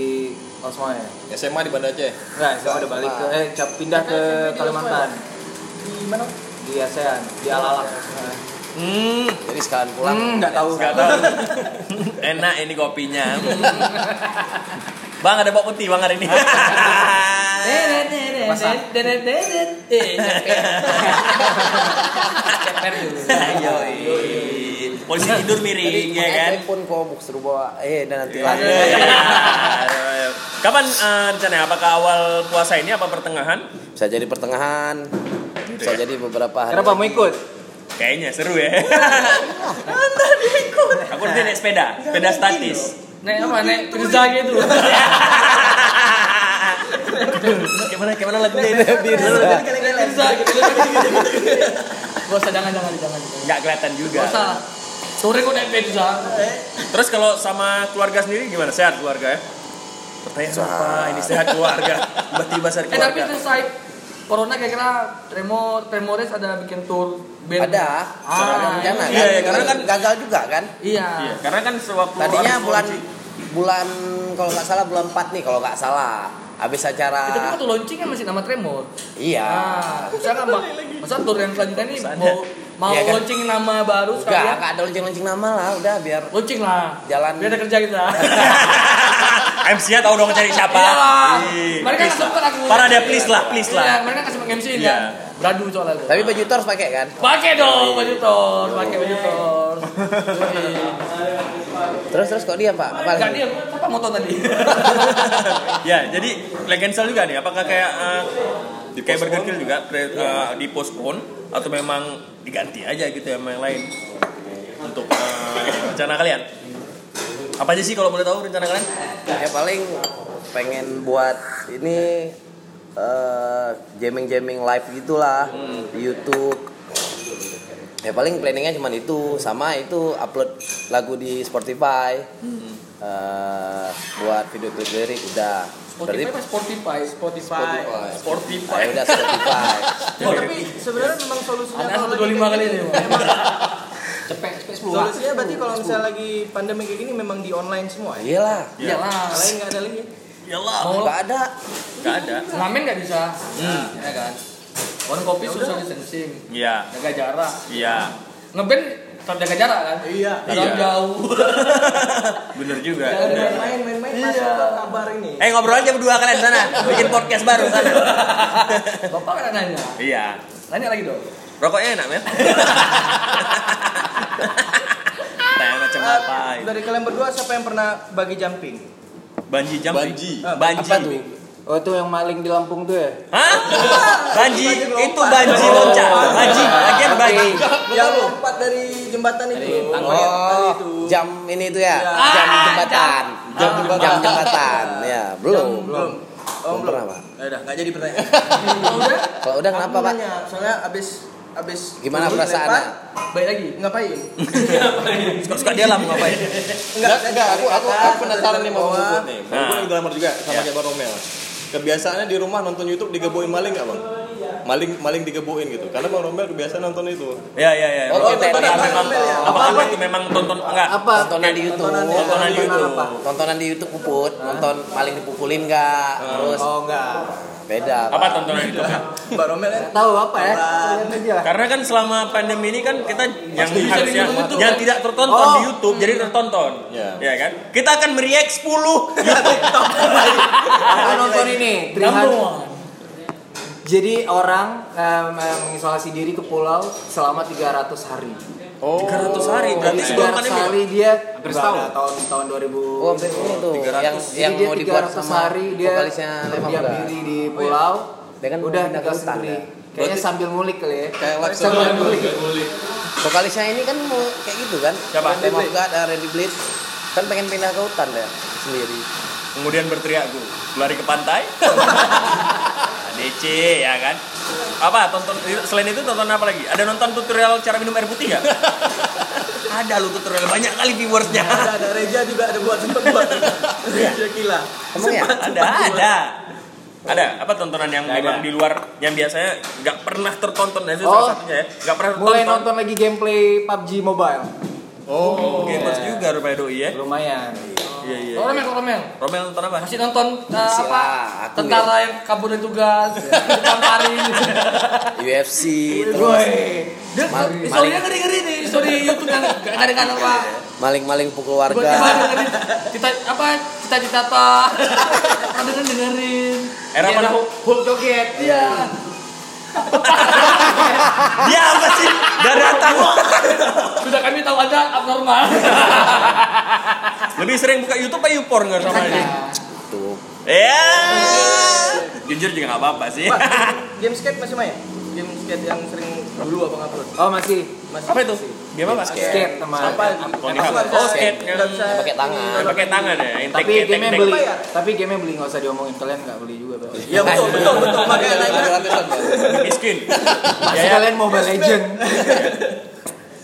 [SPEAKER 5] Los Mawai.
[SPEAKER 1] ya?
[SPEAKER 4] SMA di Banda Aceh.
[SPEAKER 5] Enggak, Nah, saya udah balik ke eh cap- pindah ke Kalimantan
[SPEAKER 7] Di mana?
[SPEAKER 5] di ASEAN, di Alalak.
[SPEAKER 1] Hmm,
[SPEAKER 3] Jadi sekalian pulang.
[SPEAKER 5] Enggak tahu.
[SPEAKER 1] nggak tahu. Enak ini kopinya. Hmm. bang ada bak putih bang hari ini.
[SPEAKER 5] Masak.
[SPEAKER 1] Ayo. Polisi tidur miring ya kan.
[SPEAKER 3] pun kok buk seru bawa eh dan nanti lah.
[SPEAKER 2] Iya,
[SPEAKER 1] Iya. Kapan eh, rencananya? Apakah awal puasa ini apa pertengahan?
[SPEAKER 3] Bisa jadi pertengahan. Bisa jadi beberapa hari.
[SPEAKER 5] Kenapa mau ikut?
[SPEAKER 1] Kayaknya seru ya. Anda diikut. Aku nanti naik sepeda, sepeda statis.
[SPEAKER 2] Naik apa? Naik Rizal gitu.
[SPEAKER 1] gimana gimana lagunya ini?
[SPEAKER 2] Rizal gitu. Gak usah jangan jangan jangan.
[SPEAKER 1] Nggak kelihatan juga.
[SPEAKER 2] Gak usah. lah. Sore kok naik Rizal.
[SPEAKER 1] Terus kalau sama keluarga sendiri gimana? Sehat keluarga ya? Pertanyaan apa? Ini sehat keluarga. Tiba-tiba sehat
[SPEAKER 2] Eh tapi
[SPEAKER 1] keluarga.
[SPEAKER 2] itu side Corona kira-kira Tremor Tremores ada bikin tour band.
[SPEAKER 3] Ada.
[SPEAKER 2] Ah,
[SPEAKER 3] ada rencana
[SPEAKER 1] iya, iya, karena kan-
[SPEAKER 3] gagal juga kan.
[SPEAKER 1] Iya,
[SPEAKER 2] Iya.
[SPEAKER 1] karena kan sewaktu
[SPEAKER 3] Tadinya
[SPEAKER 1] habis
[SPEAKER 3] bulan
[SPEAKER 1] launching-
[SPEAKER 3] bulan kalau nggak salah bulan 4 nih kalau nggak salah. Habis
[SPEAKER 2] Itu kan
[SPEAKER 3] acara
[SPEAKER 2] waktu launching kan masih nama Tremor.
[SPEAKER 3] iya.
[SPEAKER 2] Ah, saya kan Mbak. Masa tour yang selanjutnya nih
[SPEAKER 1] Bagusan
[SPEAKER 2] mau mau
[SPEAKER 3] Iya kan?
[SPEAKER 2] launching nama baru
[SPEAKER 3] Enggak,
[SPEAKER 2] sekalian.
[SPEAKER 3] enggak ada lonceng-lonceng nama lah, udah biar
[SPEAKER 2] Launching lah.
[SPEAKER 3] Jalan.
[SPEAKER 2] Biar ada kerja kita.
[SPEAKER 1] MC-nya tahu dong cari siapa.
[SPEAKER 2] Iya lah.
[SPEAKER 1] Ih,
[SPEAKER 2] Mereka
[SPEAKER 1] please
[SPEAKER 2] nggak sempet
[SPEAKER 1] lah.
[SPEAKER 2] aku.
[SPEAKER 1] Para dia please lah, please
[SPEAKER 2] Iya,
[SPEAKER 1] lah.
[SPEAKER 2] mereka kasih MC
[SPEAKER 1] Iya.
[SPEAKER 2] ya. Beradu soalnya itu.
[SPEAKER 3] Tapi baju itu harus pakai kan?
[SPEAKER 2] pakai
[SPEAKER 1] Iya.
[SPEAKER 2] dong baju tor, pakai baju tor.
[SPEAKER 3] Terus terus kok dia, Pak? Apa
[SPEAKER 2] Enggak
[SPEAKER 3] lagi?
[SPEAKER 2] dia, siapa motor tadi?
[SPEAKER 1] ya, jadi legensal juga nih. Apakah kayak eh, kayak Burger Kill juga pre- eh, di postpone atau memang diganti aja gitu ya sama yang lain untuk eh, rencana kalian? Apa aja sih kalau boleh tahu rencana kalian?
[SPEAKER 3] Ya paling pengen buat ini eh, jamming-jamming live gitulah
[SPEAKER 2] Hmm.
[SPEAKER 3] di YouTube. Ya paling planningnya cuma itu sama itu upload lagu di Spotify.
[SPEAKER 2] Hmm.
[SPEAKER 3] Eh, buat video klip lirik udah. Berarti
[SPEAKER 2] Spotify apa Spotify? Spotify.
[SPEAKER 3] ayo udah Spotify.
[SPEAKER 7] Eh,
[SPEAKER 2] Oh,
[SPEAKER 7] Tapi sebenarnya memang solusinya
[SPEAKER 2] Ada
[SPEAKER 7] kalau
[SPEAKER 2] satu
[SPEAKER 7] lagi
[SPEAKER 2] dua lima
[SPEAKER 7] kayak
[SPEAKER 2] kali
[SPEAKER 7] gini,
[SPEAKER 2] ini.
[SPEAKER 1] Iya.
[SPEAKER 7] emang
[SPEAKER 2] Cepet, cepet sepuluh.
[SPEAKER 7] Solusinya berarti kalau misalnya lagi pandemi kayak gini memang di online semua ya.
[SPEAKER 3] Iyalah,
[SPEAKER 2] Iya lah.
[SPEAKER 7] Lain nggak ada link
[SPEAKER 1] Iya.
[SPEAKER 7] ya.
[SPEAKER 1] Yalah,
[SPEAKER 2] Mau
[SPEAKER 3] nggak ada.
[SPEAKER 1] nggak ada.
[SPEAKER 2] Oh, ngamen nggak bisa.
[SPEAKER 1] Hmm.
[SPEAKER 2] Ya kan. Warung
[SPEAKER 1] Ya
[SPEAKER 2] kopi social distancing,
[SPEAKER 1] Iya,
[SPEAKER 2] jaga jarak.
[SPEAKER 1] iya,
[SPEAKER 2] Ngeband tetap jaga jarak kan?
[SPEAKER 7] Iya.
[SPEAKER 2] Tetap
[SPEAKER 1] Iya.
[SPEAKER 2] jauh. Iya.
[SPEAKER 1] bener juga.
[SPEAKER 7] Jangan
[SPEAKER 1] Udah.
[SPEAKER 7] main-main main-main masuk ke kabar ini.
[SPEAKER 1] Eh ngobrol aja berdua kalian sana, bikin podcast baru sana.
[SPEAKER 2] Bapak kan nanya.
[SPEAKER 1] Iya,
[SPEAKER 2] Nanya lagi dong.
[SPEAKER 1] rokoknya enak men. Tanya macam
[SPEAKER 7] Ah,
[SPEAKER 1] apa? itu.
[SPEAKER 7] dari kalian berdua siapa yang pernah bagi jumping?
[SPEAKER 1] Banji jam.
[SPEAKER 4] Banji.
[SPEAKER 1] Banji.
[SPEAKER 3] Apa tuh?
[SPEAKER 5] Oh itu yang maling di Lampung tuh ya?
[SPEAKER 1] Hah? Banji itu banji loncat.
[SPEAKER 5] Oh,
[SPEAKER 1] Banji,
[SPEAKER 5] iya.
[SPEAKER 1] lagian banji.
[SPEAKER 7] Yang lompat dari jembatan itu.
[SPEAKER 3] Oh, jam ini itu ya,
[SPEAKER 5] Ah,
[SPEAKER 3] jam jembatan, jam jembatan, jam jembatan. ya belum,
[SPEAKER 7] Belum. Oh,
[SPEAKER 3] belum pernah pak.
[SPEAKER 7] Ya udah, nggak jadi pertanyaan.
[SPEAKER 2] Udah,
[SPEAKER 3] Kalau udah kenapa
[SPEAKER 7] Aku
[SPEAKER 3] pak?
[SPEAKER 7] nanya, Soalnya abis abis
[SPEAKER 3] Gimana
[SPEAKER 7] dulu
[SPEAKER 3] perasaannya?
[SPEAKER 7] dilempar,
[SPEAKER 2] baik lagi.
[SPEAKER 7] Ngapain?
[SPEAKER 1] Suka-suka dia lah mau ngapain.
[SPEAKER 7] Enggak,
[SPEAKER 4] Enggak, aku aku, aku penasaran nih mau
[SPEAKER 7] Bawah.
[SPEAKER 4] Puput nih. Bang Puput
[SPEAKER 1] Nah.
[SPEAKER 4] lagi drummer juga sama
[SPEAKER 1] Iya.
[SPEAKER 4] kayak Bang Romel. Kebiasaannya di rumah nonton YouTube digeboin maling nggak bang? Maling maling digeboin gitu. Karena Bang Romel kebiasaan nonton itu.
[SPEAKER 1] Ya ya ya.
[SPEAKER 3] Oh,
[SPEAKER 1] Rokoknya
[SPEAKER 3] tontonan
[SPEAKER 1] apa memang
[SPEAKER 7] ya?
[SPEAKER 1] apa apa itu memang tonton enggak?
[SPEAKER 5] Apa?
[SPEAKER 3] Tontonan di YouTube,
[SPEAKER 7] Tontonan di-
[SPEAKER 1] Tontonan di YouTube.
[SPEAKER 3] tontonan di YouTube puput, nonton paling dipukulin nggak, terus
[SPEAKER 5] Oh enggak.
[SPEAKER 3] beda.
[SPEAKER 1] Apa tontonan di YouTube?
[SPEAKER 7] Mbak Romel ya.
[SPEAKER 5] Tahu apa ya? Kalian aja lah.
[SPEAKER 1] Karena kan selama pandemi ini kan kita yang
[SPEAKER 4] Pasti.
[SPEAKER 1] harusnya
[SPEAKER 2] Bisa di YouTube,
[SPEAKER 1] yang
[SPEAKER 2] kan?
[SPEAKER 1] tidak tertonton
[SPEAKER 5] Oh.
[SPEAKER 1] di YouTube jadi tertonton.
[SPEAKER 4] Iya.
[SPEAKER 1] Ya kan? Kita akan meriak 10 YouTube top.
[SPEAKER 5] Aku nonton Ah, ini.
[SPEAKER 2] Number
[SPEAKER 5] Trihan.
[SPEAKER 2] one.
[SPEAKER 5] Jadi orang em, em, mengisolasi diri ke pulau selama 300 hari.
[SPEAKER 1] 300 hari berarti
[SPEAKER 5] Jadi
[SPEAKER 1] sebelum
[SPEAKER 5] 300
[SPEAKER 1] pandemi.
[SPEAKER 5] hari dia
[SPEAKER 6] Hampir setahun.
[SPEAKER 5] ibadah tahun tahun 2000.
[SPEAKER 3] Oh, sampai ini tuh yang
[SPEAKER 5] Jadi
[SPEAKER 3] yang
[SPEAKER 5] dia
[SPEAKER 3] mau dibuat
[SPEAKER 5] 300
[SPEAKER 3] sama
[SPEAKER 5] hari dia
[SPEAKER 3] vokalisnya lima
[SPEAKER 5] berdiam
[SPEAKER 3] muda.
[SPEAKER 5] diri di pulau.
[SPEAKER 3] Dia kan
[SPEAKER 5] udah
[SPEAKER 3] pindah ke
[SPEAKER 5] tinggal
[SPEAKER 3] hutan,
[SPEAKER 5] sendiri.
[SPEAKER 3] ya?
[SPEAKER 5] Kayaknya sambil ngulik kali ya.
[SPEAKER 4] Kayak live
[SPEAKER 5] sambil ngulik.
[SPEAKER 3] Vokalisnya ini kan mau kayak gitu kan?
[SPEAKER 1] Siapa?
[SPEAKER 3] Lima muda ada Randy Blitz, eh, kan pengen pindah ke hutan deh sendiri.
[SPEAKER 1] Kemudian berteriak gue, lari ke pantai. Tadi ABC ya kan. Apa tonton selain itu tonton apa lagi? Ada nonton tutorial cara minum air putih nggak? ada lu tutorial banyak kali viewersnya.
[SPEAKER 4] Iya.
[SPEAKER 7] ada ada Reja juga ada buat tempat buat
[SPEAKER 2] Iya.
[SPEAKER 7] Reja gila
[SPEAKER 3] Emang ya?
[SPEAKER 1] ada ada. Ada apa tontonan yang memang di luar yang biasanya nggak pernah tertonton dan itu
[SPEAKER 5] Oh.
[SPEAKER 1] salah satunya ya. Nggak pernah
[SPEAKER 5] Mulai
[SPEAKER 1] tertonton.
[SPEAKER 5] nonton lagi gameplay PUBG Mobile.
[SPEAKER 1] Oh, gamers juga rupanya doi ya.
[SPEAKER 7] Oh.
[SPEAKER 5] Lumayan.
[SPEAKER 1] Iya iya.
[SPEAKER 2] Kalau Romel, kalau Romel.
[SPEAKER 1] Romel nonton apa?
[SPEAKER 2] Masih nonton uh,
[SPEAKER 3] Masih
[SPEAKER 2] apa?
[SPEAKER 3] lah, aku
[SPEAKER 2] tentara yang kabur dari tugas, ditamparin.
[SPEAKER 3] UFC terus
[SPEAKER 5] Woi.
[SPEAKER 2] Dia
[SPEAKER 3] Mari,
[SPEAKER 2] historinya ngeri-ngeri nih, histori YouTube yang gak ada kan apa.
[SPEAKER 3] maling-maling pukul
[SPEAKER 2] Gua cuma
[SPEAKER 3] warga.
[SPEAKER 2] dengerin cita apa cita-cita apa. Ada kan dengerin.
[SPEAKER 1] Era
[SPEAKER 2] Dia
[SPEAKER 1] mana?
[SPEAKER 2] ada Hulk joget. Iya.
[SPEAKER 1] Dia apa sih? Gak datang.
[SPEAKER 2] Sudah kami tahu ada abnormal.
[SPEAKER 1] Lebih sering buka YouTube apa YouPorn nggak sama
[SPEAKER 7] Iya.
[SPEAKER 1] ini?
[SPEAKER 3] Tuh.
[SPEAKER 1] Ya. Jujur juga nggak apa-apa sih.
[SPEAKER 7] Pak, game skate masih main game skate yang sering dulu abang upload
[SPEAKER 5] Oh masih
[SPEAKER 7] masih
[SPEAKER 1] apa itu? Dia apa?
[SPEAKER 5] skate sama.
[SPEAKER 7] apa
[SPEAKER 1] Kalau di
[SPEAKER 7] Aku
[SPEAKER 1] kamar.
[SPEAKER 7] nggak bisa-
[SPEAKER 1] Oh, skate yang
[SPEAKER 7] nggak bisa
[SPEAKER 3] pakai tangan.
[SPEAKER 7] ini,
[SPEAKER 1] Yang pakai tangan ya, yang tek
[SPEAKER 5] Tapi
[SPEAKER 1] tek tek.
[SPEAKER 5] game
[SPEAKER 1] tek.
[SPEAKER 5] beli.
[SPEAKER 7] Bayar.
[SPEAKER 5] Tapi game beli nggak usah diomongin kalian nggak beli juga berarti.
[SPEAKER 1] Iya,
[SPEAKER 7] ya betul betul betul makanya nanya
[SPEAKER 1] miskin.
[SPEAKER 5] Pasti
[SPEAKER 1] Ya, ya.
[SPEAKER 5] kalian Mobile Legend.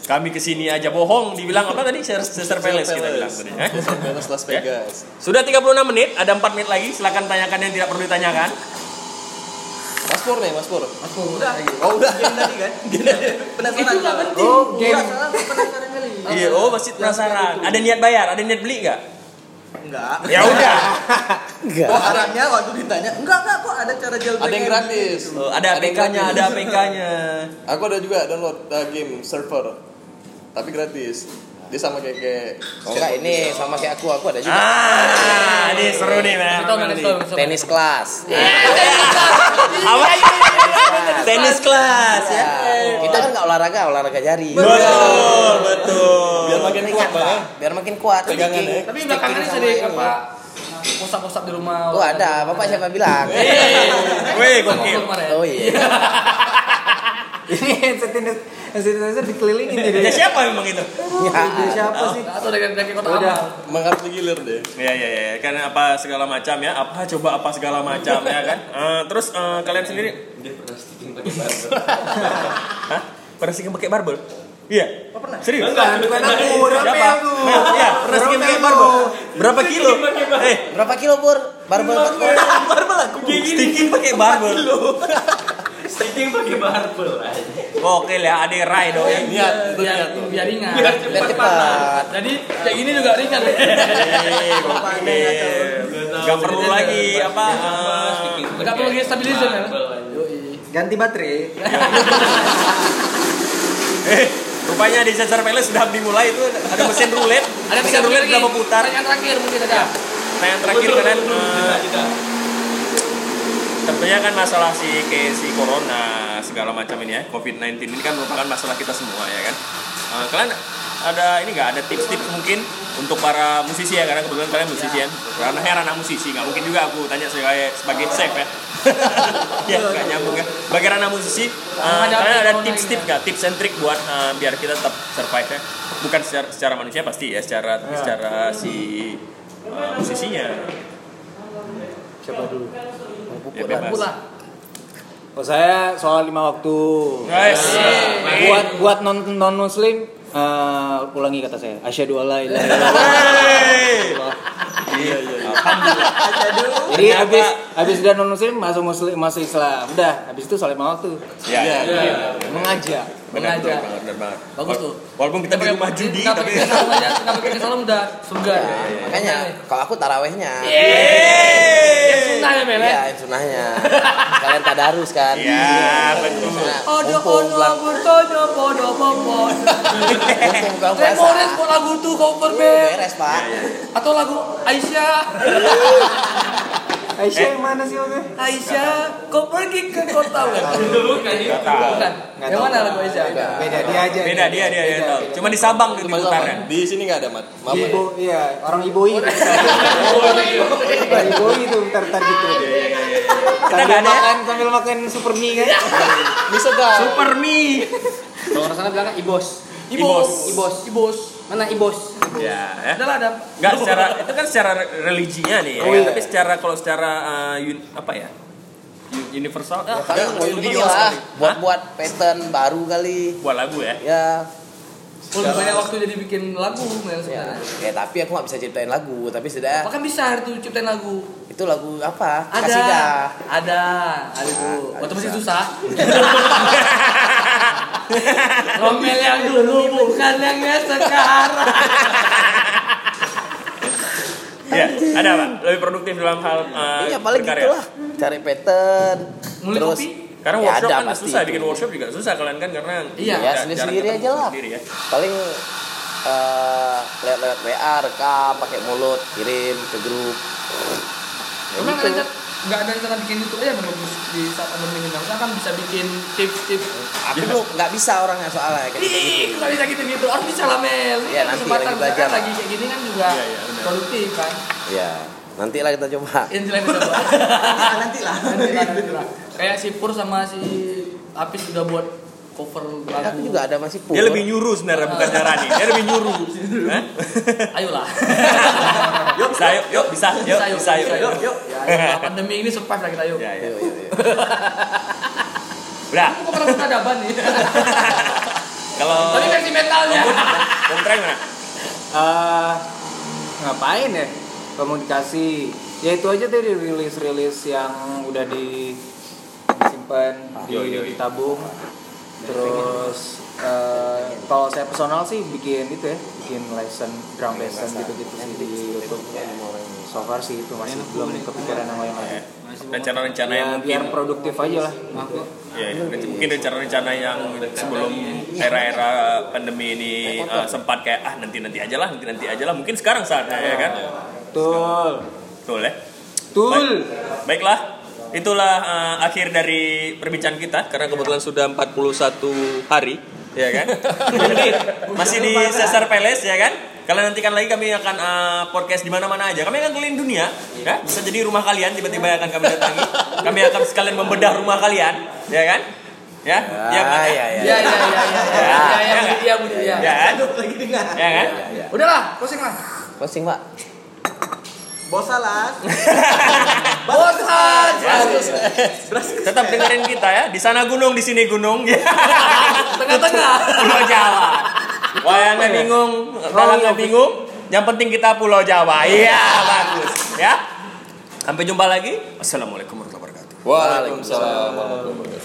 [SPEAKER 1] Kami kesini aja bohong, dibilang apa tadi? Sur- Surveillance kita bilang tadi. Hah?
[SPEAKER 4] Vegas Las Vegas.
[SPEAKER 1] Sudah 36 menit, ada 4 menit lagi. Silakan tanyakan yang tidak perlu ditanyakan.
[SPEAKER 4] Mas Pur nih, Mas Pur.
[SPEAKER 7] udah
[SPEAKER 4] Oh, udah.
[SPEAKER 7] game tadi kan penasaran
[SPEAKER 2] Itu nggak penting.
[SPEAKER 5] Oh
[SPEAKER 7] game
[SPEAKER 5] game
[SPEAKER 7] penasaran kali
[SPEAKER 1] Iya, oh masih penasaran. Ada niat bayar, ada niat beli nggak?
[SPEAKER 7] enggak
[SPEAKER 1] Ya udah.
[SPEAKER 7] kok arahnya waktu ditanya enggak enggak kok ada cara jailbreak
[SPEAKER 4] Ada yang gratis.
[SPEAKER 1] Oh, ada
[SPEAKER 4] yang
[SPEAKER 1] APK-nya,
[SPEAKER 4] gratis.
[SPEAKER 1] ada APK-nya.
[SPEAKER 4] Aku ada juga download uh, game server. Tapi gratis. Dia sama kayak kayak
[SPEAKER 3] Oh enggak ini sama kayak aku, aku ada juga
[SPEAKER 1] Ah, ini seru nih, men.
[SPEAKER 2] Kita nggak tahu.
[SPEAKER 3] tenis kelas.
[SPEAKER 1] Iya. Apa? Tenis kelas ya.
[SPEAKER 3] Ya, Kita kan nggak olahraga, olahraga jari.
[SPEAKER 1] Betul, betul.
[SPEAKER 4] biar makin kuat, Bang. ya.
[SPEAKER 3] Biar makin kuat.
[SPEAKER 4] Pegangan, ya.
[SPEAKER 2] Tapi belakangan ini sering
[SPEAKER 5] Iya.
[SPEAKER 2] apa? Posap-posap di rumah.
[SPEAKER 3] Oh ada, bapak siapa bilang?
[SPEAKER 2] Iya.
[SPEAKER 5] Iya.
[SPEAKER 1] Weh,
[SPEAKER 2] Sama
[SPEAKER 1] gokil.
[SPEAKER 2] kemarin.
[SPEAKER 3] Oh iya.
[SPEAKER 5] ini headset ini- headset headset dikelilingin jadi.
[SPEAKER 1] Ya siapa memang itu?
[SPEAKER 5] Ide
[SPEAKER 3] Iya.
[SPEAKER 5] siapa sih?
[SPEAKER 2] Iya. Atau dengan kaki kota
[SPEAKER 5] Udah.
[SPEAKER 2] amal.
[SPEAKER 4] Emang harus digilir deh.
[SPEAKER 1] Ya ya ya, kan apa segala macam ya, apa coba apa segala macam ya kan. Eh, terus eh, kalian sendiri Hah? pernah sih pakai barbel? Iya. Oh, pernah. Serius?
[SPEAKER 5] Bukan, bukan aku, Romeo
[SPEAKER 1] Siapa?
[SPEAKER 5] aku.
[SPEAKER 1] Nah, Iya, pernah sih pakai barbel. Berapa kilo? Eh,
[SPEAKER 3] Berapa kilo pur? Barbel empat kilo.
[SPEAKER 7] barbel aku
[SPEAKER 1] sticking pakai barbel.
[SPEAKER 6] Sticking pakai barbel aja.
[SPEAKER 1] Gokil ya, ada Rai dong ya.
[SPEAKER 4] Niat, itu
[SPEAKER 2] Biar,
[SPEAKER 5] Iya.
[SPEAKER 4] niat.
[SPEAKER 2] biar ringan.
[SPEAKER 3] Biar cepat.
[SPEAKER 2] Jadi kayak gini juga ringan.
[SPEAKER 5] Iya.
[SPEAKER 1] Eh, gokil. Gak perlu lagi apa eh,
[SPEAKER 2] Enggak perlu gear stabilizer
[SPEAKER 5] Iya.
[SPEAKER 2] ya.
[SPEAKER 5] Ganti baterai.
[SPEAKER 1] Eh, rupanya di Caesar Palace sudah dimulai itu ada mesin roulette,
[SPEAKER 2] Ada
[SPEAKER 1] mesin
[SPEAKER 2] tiga
[SPEAKER 1] roulette sudah memutar.
[SPEAKER 2] Yang terakhir mungkin ada.
[SPEAKER 5] Iya.
[SPEAKER 1] Nah yang terakhir kalian eh, tentunya kan masalah si ke si corona segala macam ini ya, COVID-19 ini kan merupakan masalah kita semua ya kan. Eh, kalian ada ini nggak ada tips-tips mungkin untuk para musisi ya karena kebetulan kalian musisi ya. Karena heran anak musisi nggak mungkin juga aku tanya sebagai sebagai chef ya. ya nggak nyambung ya. Bagi anak musisi, eh, kalian ada tips-tips nggak tips and trick buat eh, biar kita tetap survive ya? Bukan secara, secara manusia pasti ya, secara secara si eh, musisinya
[SPEAKER 5] Siapa dulu?
[SPEAKER 1] ya bebas.
[SPEAKER 2] Pula.
[SPEAKER 5] Oh saya soal lima waktu.
[SPEAKER 1] Guys,
[SPEAKER 5] Buat buat non non muslim eh, ulangi kata saya. Asyhadu alla ilaha illallah.
[SPEAKER 1] Iya, iya, iya.
[SPEAKER 5] Jadi
[SPEAKER 1] Ternyata-
[SPEAKER 5] habis habis udah non muslim masuk muslim masuk Islam. Udah, habis itu soal lima waktu.
[SPEAKER 1] Iya, iya, iya.
[SPEAKER 5] Mengajak.
[SPEAKER 1] Benar, benar
[SPEAKER 2] Mengajak.
[SPEAKER 1] banget, benar banget.
[SPEAKER 2] Bagus tuh.
[SPEAKER 1] Walaupun kita di rumah judi,
[SPEAKER 2] Nggak
[SPEAKER 1] tapi... Iya,
[SPEAKER 2] pergi ke salam aja, nggak pergi ke salam udah surga.
[SPEAKER 3] Makanya kalau aku
[SPEAKER 2] Iya,
[SPEAKER 3] tarawehnya.
[SPEAKER 1] Yeay!
[SPEAKER 2] Nah, ya Mele.
[SPEAKER 3] Iya, yang sunahnya. Kalian tadarus kan?
[SPEAKER 1] Iya, betul.
[SPEAKER 3] Sunah.
[SPEAKER 2] Odo
[SPEAKER 3] Mumpung
[SPEAKER 2] odo
[SPEAKER 3] bulan-
[SPEAKER 2] burtodo podo popo.
[SPEAKER 3] mumpung buka puasa.
[SPEAKER 2] Remoren kok lagu tuh
[SPEAKER 1] Iya,
[SPEAKER 2] cover band
[SPEAKER 3] Beres, Pak.
[SPEAKER 2] atau lagu Aisyah.
[SPEAKER 5] Aisyah yang mana sih Oke?
[SPEAKER 2] Aisyah, kau pergi ke
[SPEAKER 1] Iya.
[SPEAKER 2] kota bukan? Bukan. Bukan. Yang mana lagu Aisyah?
[SPEAKER 5] Beda dia aja.
[SPEAKER 1] Beda, dia, dia, dia.
[SPEAKER 5] Beda,
[SPEAKER 1] tahu.
[SPEAKER 5] beda.
[SPEAKER 1] Cuma di ya. Sabang tuh diputarnya.
[SPEAKER 4] Di sini nggak ada mat. Maaf.
[SPEAKER 5] Ibo, iya, orang Ibo itu. Ibo itu bentar bentar gitu. Sambil
[SPEAKER 1] nggak ada ya?
[SPEAKER 5] makan, sambil makan super mie kan.
[SPEAKER 4] Bisa dah.
[SPEAKER 1] Super mie.
[SPEAKER 5] Kalau orang sana bilangnya Ibos.
[SPEAKER 1] Ibos.
[SPEAKER 5] Ibos. Ibos. Mana Ibos?
[SPEAKER 1] Ya, ya.
[SPEAKER 2] Udah lah, Adam.
[SPEAKER 1] Enggak secara itu kan secara religinya nih, ya.
[SPEAKER 5] Oh, iya.
[SPEAKER 1] tapi secara kalau secara eh, yun- apa ya?
[SPEAKER 6] universal ah,
[SPEAKER 3] Paling
[SPEAKER 4] Ya,
[SPEAKER 3] buat ini
[SPEAKER 4] video
[SPEAKER 3] lah,
[SPEAKER 4] kali.
[SPEAKER 3] buat buat pattern baru kali.
[SPEAKER 1] buat lagu ya
[SPEAKER 3] Ya,
[SPEAKER 2] Oh, lebih banyak waktu jadi bikin lagu Mel
[SPEAKER 3] ya.
[SPEAKER 2] sebenarnya.
[SPEAKER 1] Iya.
[SPEAKER 3] Ya, tapi aku nggak bisa ciptain lagu, tapi sudah
[SPEAKER 2] Apa kan bisa hari itu ciptain lagu?
[SPEAKER 3] itu lagu apa?
[SPEAKER 2] Ada,
[SPEAKER 3] Kasida.
[SPEAKER 2] ada, ada tuh.
[SPEAKER 3] Ah,
[SPEAKER 2] Waktu masih
[SPEAKER 3] bisa.
[SPEAKER 2] susah. Ngomel yang dulu bukan yang sekarang.
[SPEAKER 1] ya ada pak lebih produktif dalam hal eh,
[SPEAKER 3] Iya, paling
[SPEAKER 1] berkarya.
[SPEAKER 3] gitulah. Cari pattern.
[SPEAKER 2] Mulai
[SPEAKER 3] terus
[SPEAKER 2] kopi?
[SPEAKER 1] karena
[SPEAKER 3] ya
[SPEAKER 1] workshop
[SPEAKER 3] ada
[SPEAKER 1] kan
[SPEAKER 3] pasti
[SPEAKER 1] susah
[SPEAKER 3] itu.
[SPEAKER 1] bikin workshop juga susah kalian kan karena
[SPEAKER 2] Iya,
[SPEAKER 1] jarang
[SPEAKER 3] sendiri-sendiri
[SPEAKER 1] ketemu
[SPEAKER 3] aja lah.
[SPEAKER 1] sendiri ya.
[SPEAKER 3] paling eh lewat-lewat WA rekam pakai mulut kirim ke grup Ya
[SPEAKER 2] Emang
[SPEAKER 3] gitu.
[SPEAKER 2] ada nggak ada rencana bikin YouTube aja menurut di saat pandemi ini? Maksudnya kan bisa bikin tips-tips.
[SPEAKER 3] aku
[SPEAKER 1] Iya.
[SPEAKER 3] tuh nggak bisa orangnya soalnya kayak
[SPEAKER 2] Ih,
[SPEAKER 3] gitu
[SPEAKER 2] nggak bisa gitu-gitu. Harus bisa lah Mel. Ini
[SPEAKER 3] Iya,
[SPEAKER 2] kan
[SPEAKER 3] nanti
[SPEAKER 2] kesempatan.
[SPEAKER 3] lagi belajar.
[SPEAKER 2] Misalkan lagi kayak gini kan juga
[SPEAKER 1] Iya, iya, benar.
[SPEAKER 2] produktif kan.
[SPEAKER 3] ya nantilah kita coba
[SPEAKER 2] Yang jelek udah buat.
[SPEAKER 1] Ah,
[SPEAKER 7] nanti lah
[SPEAKER 2] Nanti lah, nanti lah. Kayak si Pur sama si Apis udah buat cover lagu.
[SPEAKER 3] Eh, aku juga ada masih pur
[SPEAKER 1] dia lebih nyuruh sebenarnya bukan nyarani dia lebih nyuruh Hah?
[SPEAKER 2] Ayolah.
[SPEAKER 1] yuk bisa yuk yuk bisa yuk bisa yuk
[SPEAKER 2] yuk, yuk. Ya, ayolah, pandemi ini survive lah kita yuk.
[SPEAKER 1] ya ya
[SPEAKER 3] Yuk, yuk, yuk.
[SPEAKER 1] udah
[SPEAKER 2] Aku pernah peradaban nih.
[SPEAKER 1] kalau
[SPEAKER 2] Tapi versi metalnya.
[SPEAKER 1] kontreng mana
[SPEAKER 5] Eh, ngapain ya komunikasi ya itu aja tadi rilis rilis yang udah di disimpan di,
[SPEAKER 1] Yo, yo, yo.
[SPEAKER 5] ditabung terus eh, kalau saya personal sih bikin itu ya bikin lesson drum lesson gitu gitu sih di YouTube so far sih itu masih belum kepikiran sama yang lain
[SPEAKER 1] rencana-rencana
[SPEAKER 5] ya
[SPEAKER 1] yang mungkin
[SPEAKER 5] biar produktif aja lah
[SPEAKER 1] ya, ya. mungkin rencana-rencana yang sebelum era-era pandemi ini eh, sempat kayak ah nanti-nanti aja lah nanti-nanti aja lah mungkin sekarang saatnya ya kan
[SPEAKER 5] betul
[SPEAKER 1] betul ya
[SPEAKER 5] betul
[SPEAKER 1] Baiklah, itulah eh, akhir dari perbincangan kita karena kebetulan sudah 41 hari, ya kan? Masih di Cesar Palace ya kan? Kalian nantikan lagi kami akan eh, podcast di mana-mana aja. Kami akan keliling dunia, ya. Bisa jadi rumah kalian tiba-tiba akan kami datangi. Kami akan sekalian membedah rumah kalian, ya kan? Ya, ya, kan?
[SPEAKER 3] Ah, ya, ya.
[SPEAKER 2] Ya ya ya ya.
[SPEAKER 1] Ya,
[SPEAKER 2] Ya ya
[SPEAKER 1] ya,
[SPEAKER 2] Budi, ya Budi, ya.
[SPEAKER 1] Ya kan?
[SPEAKER 7] lagi dengar
[SPEAKER 1] Ya kan?
[SPEAKER 2] Udahlah, closing lah.
[SPEAKER 3] closing pak
[SPEAKER 7] bosalas
[SPEAKER 2] Bosan.
[SPEAKER 1] Iya, Tetap dengerin kita ya. Di sana gunung, di sini gunung. Ya.
[SPEAKER 2] Tengah-tengah.
[SPEAKER 1] Pulau Jawa. Wayangnya bingung, dalangnya bingung. Yang penting kita Pulau Jawa. Iya, bagus. Ya. Sampai jumpa lagi. Assalamualaikum warahmatullahi wabarakatuh.
[SPEAKER 4] Waalaikumsalam. warahmatullahi wabarakatuh.